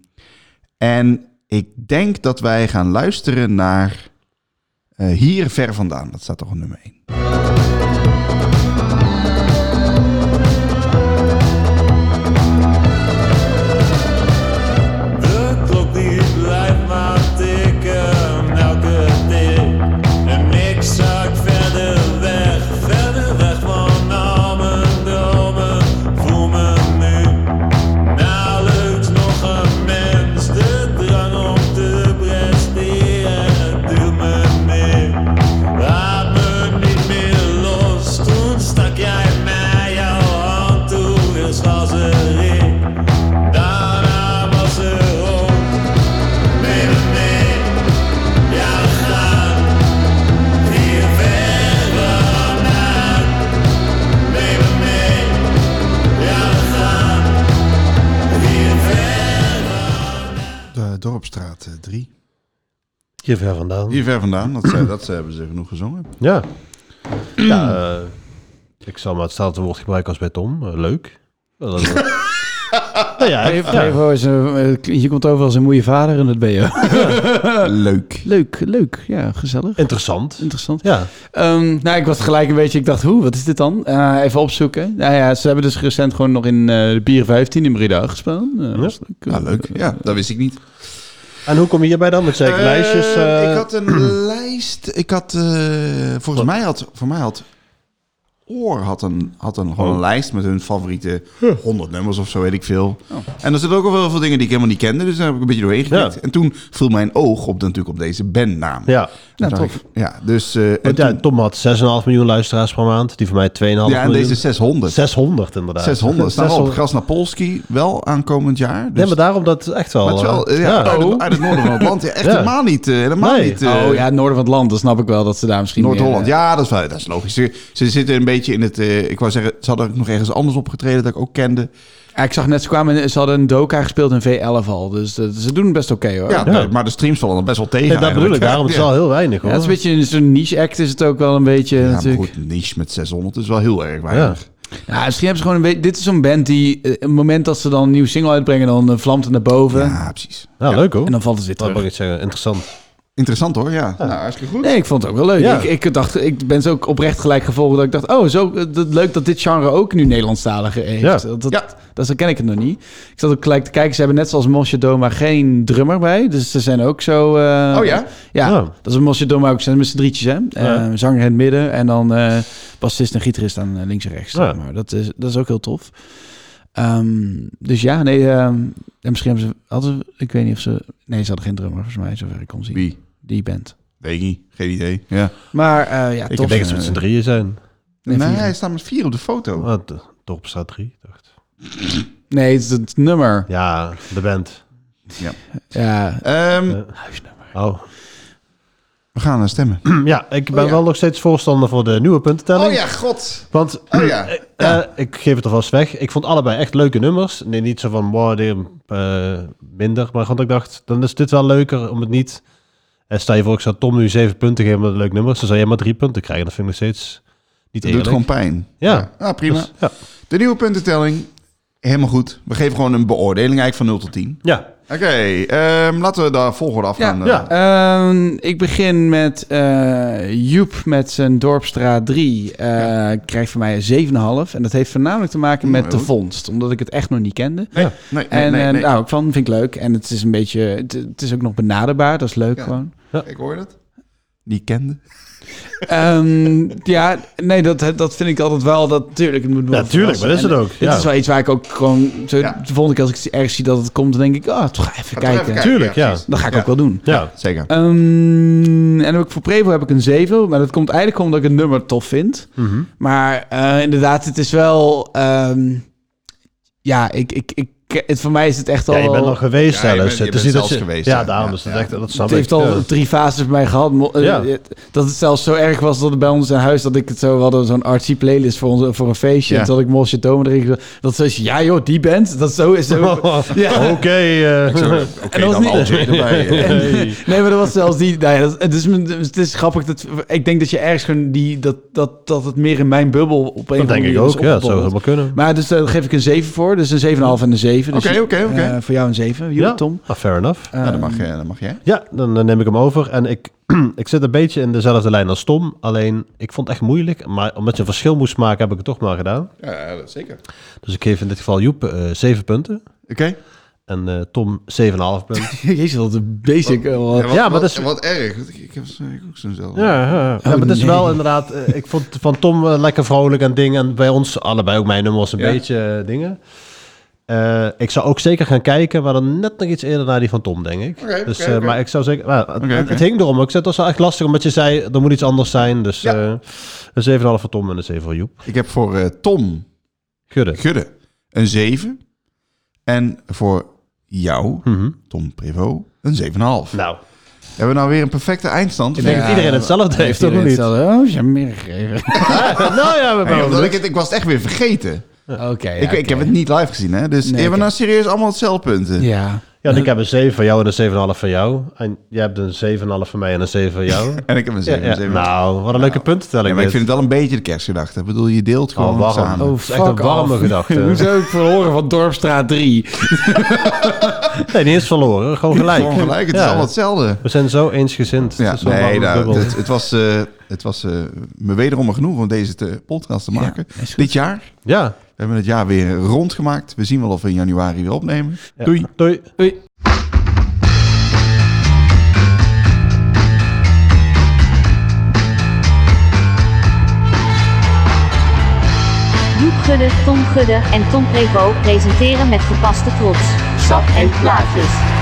Speaker 3: en ik denk dat wij gaan luisteren naar eh, Hier Ver Vandaan. Dat staat toch op nummer 1.
Speaker 10: De klok die blijft maar tikken, elke tik. En ik zak verder weg, verder weg van al mijn dromen. Voel me nu nauwelijks nog een mens. De drang om te presteren duwt me neer. Laat me niet meer los, toen stak jij mij jouw hand toe. Eerst was er ik. Daarna was er ook mee mee. Ja, we gaan hier verder aan. Mee mee. Ja, we gaan hier verder
Speaker 3: De Dorpstraat 3.
Speaker 4: Hier ver vandaan.
Speaker 3: Hier Ver Vandaan. Dat, ze- dat ze hebben ze genoeg gezongen.
Speaker 4: Ja. ja eh, ik zal maar hetzelfde woord gebruiken als bij Tom. Eh, leuk. Wel, dat- nou ja, ik- ja.
Speaker 2: Prevo is een- eh, je komt over als een moeie vader en dat ben je.
Speaker 3: Eh, Leuk.
Speaker 2: Leuk, leuk. Ja, gezellig.
Speaker 4: Interessant.
Speaker 2: Interessant.
Speaker 4: Ja.
Speaker 2: Ehm, nou, ik was gelijk een beetje... Ik dacht, hoe, wat is dit dan? Eh, even opzoeken. Nou ja, ze hebben dus recent gewoon nog in eh, de Bier 15 in Breda gespeeld. Eh, was leuk.
Speaker 3: Ja, Nou, leuk. Ja, dat wist ik niet.
Speaker 4: En hoe kom je hierbij dan? Met zeker
Speaker 3: Eh,
Speaker 4: lijstjes? eh,
Speaker 3: ik had een lijst. Ik had. eh, volgens mij had. Voor mij had. Oor had een, had een,
Speaker 4: Oh.
Speaker 3: gewoon een lijst met hun favoriete 100 nummers of zo, weet ik veel. En er zitten ook al wel veel dingen die ik helemaal niet kende, dus daar heb ik een beetje doorheen gekeken.
Speaker 4: Ja.
Speaker 3: En toen viel mijn oog op, de, natuurlijk op deze bandnaam.
Speaker 4: Ja.
Speaker 3: En toen
Speaker 2: tof.
Speaker 3: dacht ik, Ja, dus... eh, en
Speaker 4: Want ja,
Speaker 3: toen-
Speaker 4: Tom had 6,5 miljoen luisteraars per maand. Die van mij 2,5 miljoen.
Speaker 3: ja, en deze 600.
Speaker 4: 600 inderdaad.
Speaker 3: 600. Staan we op
Speaker 4: 600.
Speaker 3: Gras naar Polski, wel aankomend jaar. Dus,
Speaker 4: Nee, maar daarom dat het echt wel...
Speaker 3: maar het is wel,
Speaker 4: eh,
Speaker 3: eh, ja, Uit,
Speaker 4: Oh.
Speaker 3: het, uit het noorden van het land. Ja, echt
Speaker 4: Ja.
Speaker 3: helemaal niet. eh, helemaal
Speaker 4: Nee.
Speaker 3: niet eh,
Speaker 2: oh ja, het noorden van het land. Dan snap ik wel dat ze daar misschien...
Speaker 3: Noord-Holland.
Speaker 2: meer,
Speaker 3: Ja, dat is, wel, eh, dat is logisch. Ze, ze zitten een beetje in het... eh, ik wou zeggen, ze hadden ook nog ergens anders opgetreden dat ik ook kende.
Speaker 2: Ja, ik zag net, ze, kwamen, ze hadden een Doka gespeeld in V11 al. Dus eh, ze doen het best oké hoor.
Speaker 3: Ja, nee, maar de streams vallen er best wel tegen.
Speaker 4: Ja, dat bedoel ik,
Speaker 3: eigenlijk.
Speaker 4: daarom is het
Speaker 3: Ja.
Speaker 4: al heel weinig
Speaker 2: Ja,
Speaker 4: hoor.
Speaker 2: het is een beetje in zo'n niche act is het ook wel een beetje
Speaker 3: Ja, maar
Speaker 4: eh,
Speaker 2: natuurlijk.
Speaker 3: goed, niche met 600 is wel heel erg weinig.
Speaker 2: Ja, misschien hebben ze gewoon een beetje... Dit is zo'n band die... eh, het moment dat ze dan een nieuwe single uitbrengen, dan eh, vlamt het naar boven.
Speaker 3: Ja, precies.
Speaker 4: Ja, leuk hoor.
Speaker 2: En dan valt het weer
Speaker 4: Dat
Speaker 2: terug.
Speaker 4: mag ik niet zeggen, interessant.
Speaker 3: Interessant hoor, ja. Nou, hartstikke goed.
Speaker 2: Nee, ik vond het ook wel leuk.
Speaker 4: Ja.
Speaker 2: Ik, ik dacht, ik ben zo ook oprecht gelijk gevolgd dat ik dacht, oh, zo, eh, dat, leuk dat dit genre ook nu Nederlandstalige heeft.
Speaker 4: Ja.
Speaker 2: Dat, dat,
Speaker 3: Ja.
Speaker 2: dat- zo ken ik het nog niet. Ik zat ook gelijk te kijken, ze hebben net zoals Mosje Doma geen drummer bij, dus ze zijn ook zo... eh,
Speaker 3: Oh ja?
Speaker 2: Ja,
Speaker 4: Ja.
Speaker 2: dat is Mosje Doma ook, ze zijn met z'n drietjes hè. Eh, zanger in het midden en dan eh, bassist en gitarist aan eh, links en rechts.
Speaker 4: Ja.
Speaker 2: Maar dat is, dat is ook heel tof. Ehm, dus ja, nee, ehm, en misschien hebben ze, hadden ze, ik weet niet of ze, nee, ze hadden geen drummer volgens mij, zover ik kon zien.
Speaker 3: Wie?
Speaker 2: Die band.
Speaker 3: Weet ik niet. Geen idee. Ja.
Speaker 2: Maar eh, ja,
Speaker 4: Ik
Speaker 2: tof.
Speaker 4: denk dat ze met z'n drieën zijn.
Speaker 2: Nee,
Speaker 3: Nee,
Speaker 2: vier.
Speaker 3: hij staat met vier op de foto.
Speaker 4: Ah, de- Dorp staat drie, dacht
Speaker 2: Nee, het is het nummer.
Speaker 4: Ja, de band.
Speaker 2: Ja,
Speaker 3: Ehm,
Speaker 4: Ja. Oh. Hm,
Speaker 3: we gaan eh, stemmen.
Speaker 4: Ja, ik ben
Speaker 3: Oh, ja.
Speaker 4: wel nog steeds voorstander voor de nieuwe puntentelling.
Speaker 3: Oh ja, god.
Speaker 4: Want
Speaker 3: Oh ja.
Speaker 4: eh, eh, ik geef het alvast weg. Ik vond allebei echt leuke nummers. Nee, niet zo van, wow, die, eh, minder. Maar gewoon dat ik dacht, dan is dit wel leuker om het niet... En stel je voor, ik zou Tom nu zeven punten geven met een leuk nummer. Dan zou jij maar drie punten krijgen. Dat vind ik nog steeds niet
Speaker 3: Het doet
Speaker 4: eerlijk.
Speaker 3: gewoon pijn.
Speaker 4: Ja.
Speaker 3: Ah, prima.
Speaker 4: Dus, ja.
Speaker 3: De nieuwe puntentelling. Helemaal goed. We geven gewoon een beoordeling eigenlijk van 0 tot 10.
Speaker 4: ja.
Speaker 3: Oké, ehm, laten we daar volgorde af gaan.
Speaker 2: Ja,
Speaker 3: eh.
Speaker 4: ja.
Speaker 2: ehm, ik begin met eh, Joep met zijn Dorpstraat 3. eh Krijgt van mij een 7,5. En dat heeft voornamelijk te maken
Speaker 3: Hmm,
Speaker 2: met de
Speaker 3: heel
Speaker 2: vondst. Omdat ik het echt nog niet kende.
Speaker 3: Nee, nee, nee,
Speaker 2: en
Speaker 3: nee,
Speaker 2: eh,
Speaker 3: nee.
Speaker 2: daar
Speaker 4: nou.
Speaker 2: hou ik van. Vind ik leuk. En het is een beetje... Het, het is ook nog benaderbaar. Dat is leuk
Speaker 3: Ja.
Speaker 2: gewoon.
Speaker 3: Ik hoor dat. Die kende.
Speaker 2: Ehm, ja, nee, dat, dat vind ik altijd wel. Dat, tuurlijk, het moet me wel
Speaker 4: Ja, tuurlijk,
Speaker 2: verrassen.
Speaker 4: maar dat is
Speaker 2: En
Speaker 4: het ook,
Speaker 2: Dit
Speaker 4: ja.
Speaker 2: is wel iets waar ik ook gewoon... Zo,
Speaker 3: Ja.
Speaker 2: De volgende keer als ik ergens zie dat het komt, dan denk ik... Ah, toch even
Speaker 3: Ga toch
Speaker 2: kijken.
Speaker 3: even kijken.
Speaker 4: Tuurlijk, ja. Eh,
Speaker 3: precies.
Speaker 2: Dat ga ik
Speaker 3: Ja.
Speaker 2: ook wel doen.
Speaker 4: Ja.
Speaker 3: Zeker.
Speaker 2: Ehm, en dan heb ik voor Prevo heb ik een 7. Maar dat komt eigenlijk omdat ik het nummer tof vind.
Speaker 4: Mhm.
Speaker 2: Maar eh, inderdaad, het is wel... ehm, ja, ik, ik, ik, het, voor mij is het echt al...
Speaker 4: Ja, je bent nog geweest
Speaker 3: Ja, je bent-
Speaker 4: zelfs.
Speaker 3: je
Speaker 4: Het is
Speaker 3: bent
Speaker 4: niet dat
Speaker 3: zelfs
Speaker 4: je-
Speaker 3: geweest,
Speaker 4: Ja,
Speaker 3: ja.
Speaker 4: daarom.
Speaker 3: Ja,
Speaker 4: Dus dat
Speaker 3: ja.
Speaker 4: echt- dat snap
Speaker 2: het heeft
Speaker 4: ik.
Speaker 2: al
Speaker 4: Ja.
Speaker 2: drie fases bij mij gehad. Mo- eh,
Speaker 4: Ja.
Speaker 2: eh, Dat het zelfs zo erg was dat het bij ons in huis... dat ik het zo we hadden, zo'n artsy playlist voor, onze, voor een feestje.
Speaker 3: Ja.
Speaker 2: En toen had ik Mosje Tomer erin gezet. Dat zoiets, ja joh, die band. Dat zo is zo... Ja.
Speaker 4: Oké. eh,
Speaker 3: Oké,
Speaker 2: dat was
Speaker 3: dan
Speaker 2: niet-
Speaker 3: Alger erbij. eh.
Speaker 4: hey.
Speaker 2: Nee, maar dat was zelfs die. Nou ja, dat, het, is, mijn- het is grappig dat. Ik denk dat je ergens gewoon die. Dat, dat, dat het meer in mijn bubbel op een
Speaker 4: Dat denk ik ook. Ja, dat zou
Speaker 2: zo.
Speaker 4: helemaal kunnen.
Speaker 2: Maar dus daar geef ik een 7 voor. Dus een 7,5 en een 7. Dus
Speaker 3: Oké, oké, oké.
Speaker 2: eh, voor jou een 7. Jullie,
Speaker 4: Ja,
Speaker 2: Tom.
Speaker 4: ah, fair enough.
Speaker 3: Nou, dan mag, eh, dan mag jij.
Speaker 4: Ja, dan eh, neem ik hem over. En ik, ik zit een beetje in dezelfde lijn als Tom. Alleen, ik vond het echt moeilijk. Maar omdat je een verschil moest maken, heb ik het toch maar gedaan.
Speaker 3: Ja, zeker.
Speaker 4: Dus ik geef in dit geval Joep eh 7 punten.
Speaker 3: Oké.
Speaker 4: En eh, Tom 7,5 punten.
Speaker 2: Jezus, wat een basic. eh, wat-
Speaker 4: Ja, maar dat is-
Speaker 3: Wat erg. want Ik, ik heb zo- ik ook zo'n zelf.
Speaker 4: Ja, ja,
Speaker 3: Oh,
Speaker 4: ja. Ja, maar het is
Speaker 2: nee.
Speaker 4: wel inderdaad. eh, ik vond van Tom eh, lekker vrolijk en dingen. En bij ons allebei ook mijn nummer was een
Speaker 3: Ja.
Speaker 4: beetje eh, dingen. Eh, ik zou ook zeker gaan kijken, maar dan net nog iets eerder naar die van Tom, denk ik.
Speaker 3: Oké,
Speaker 4: dus,
Speaker 3: oké,
Speaker 4: eh,
Speaker 3: oké.
Speaker 4: Maar ik zou zeker. nou, het,
Speaker 3: Oké,
Speaker 4: het-
Speaker 3: oké.
Speaker 4: het hing erom. Ik zei, het was wel echt lastig omdat je zei er moet iets anders zijn. Dus
Speaker 3: Ja.
Speaker 4: eh een 7,5 voor Tom en een 7 voor Joep.
Speaker 3: Ik heb voor eh, Tom
Speaker 4: Gudde.
Speaker 3: Gudde een 7. En voor jou,
Speaker 4: Mhm.
Speaker 3: Tom Privo, een 7,5.
Speaker 4: Nou,
Speaker 3: Hebben we nou weer een perfecte eindstand?
Speaker 4: ik denk dat iedereen hetzelfde heeft, toch of
Speaker 2: Iedereen
Speaker 4: niet?
Speaker 2: stelde, Oh, ze hebben meer gegeven.
Speaker 4: nou ja, we
Speaker 3: Nee,
Speaker 4: hebben
Speaker 3: omdat ik, het, ik was het echt weer vergeten.
Speaker 2: Oké.
Speaker 3: ik, ik heb het niet live gezien, hè? Dus
Speaker 2: Nee,
Speaker 3: hebben we
Speaker 2: ik
Speaker 3: nou serieus allemaal hetzelfde punten?
Speaker 2: Ja.
Speaker 4: Ja, ik heb een 7 van jou en een 7,5 van jou. En jij hebt een 7,5 van mij en een 7 van jou.
Speaker 3: En ik heb een
Speaker 4: Ja,
Speaker 3: 7.
Speaker 4: ja. Nou, wat een leuke puntentelling.
Speaker 3: maar ik
Speaker 4: dit.
Speaker 3: vind het wel een beetje de kerstgedachte. Ik bedoel, je deelt gewoon
Speaker 4: Oh, warm.
Speaker 3: samen.
Speaker 4: Oh, Het is echt een
Speaker 2: fuck
Speaker 4: warme
Speaker 2: off.
Speaker 4: gedachte.
Speaker 2: Hoezo ik verloren van Dorpstraat 3?
Speaker 4: Nee, niet eens verloren. Gewoon gelijk.
Speaker 3: Gewoon gelijk, het
Speaker 4: Ja.
Speaker 3: is allemaal hetzelfde.
Speaker 4: We zijn zo eensgezind.
Speaker 3: Ja,
Speaker 4: Het is dus zo'n
Speaker 3: nee,
Speaker 4: warme
Speaker 3: nou,
Speaker 4: bubbel.
Speaker 3: het, het was, eh, het was eh, me wederom een genoeg om deze te, podcast te maken. Dit jaar.
Speaker 4: Ja.
Speaker 3: We hebben het jaar weer rondgemaakt. We zien wel of we in januari weer opnemen.
Speaker 4: Ja.
Speaker 3: Doei.
Speaker 4: Doei.
Speaker 2: Oei.
Speaker 1: Joep Gudde, Tom Gudde en Tom Prevo presenteren met gepaste trots. Sap en plaatjes.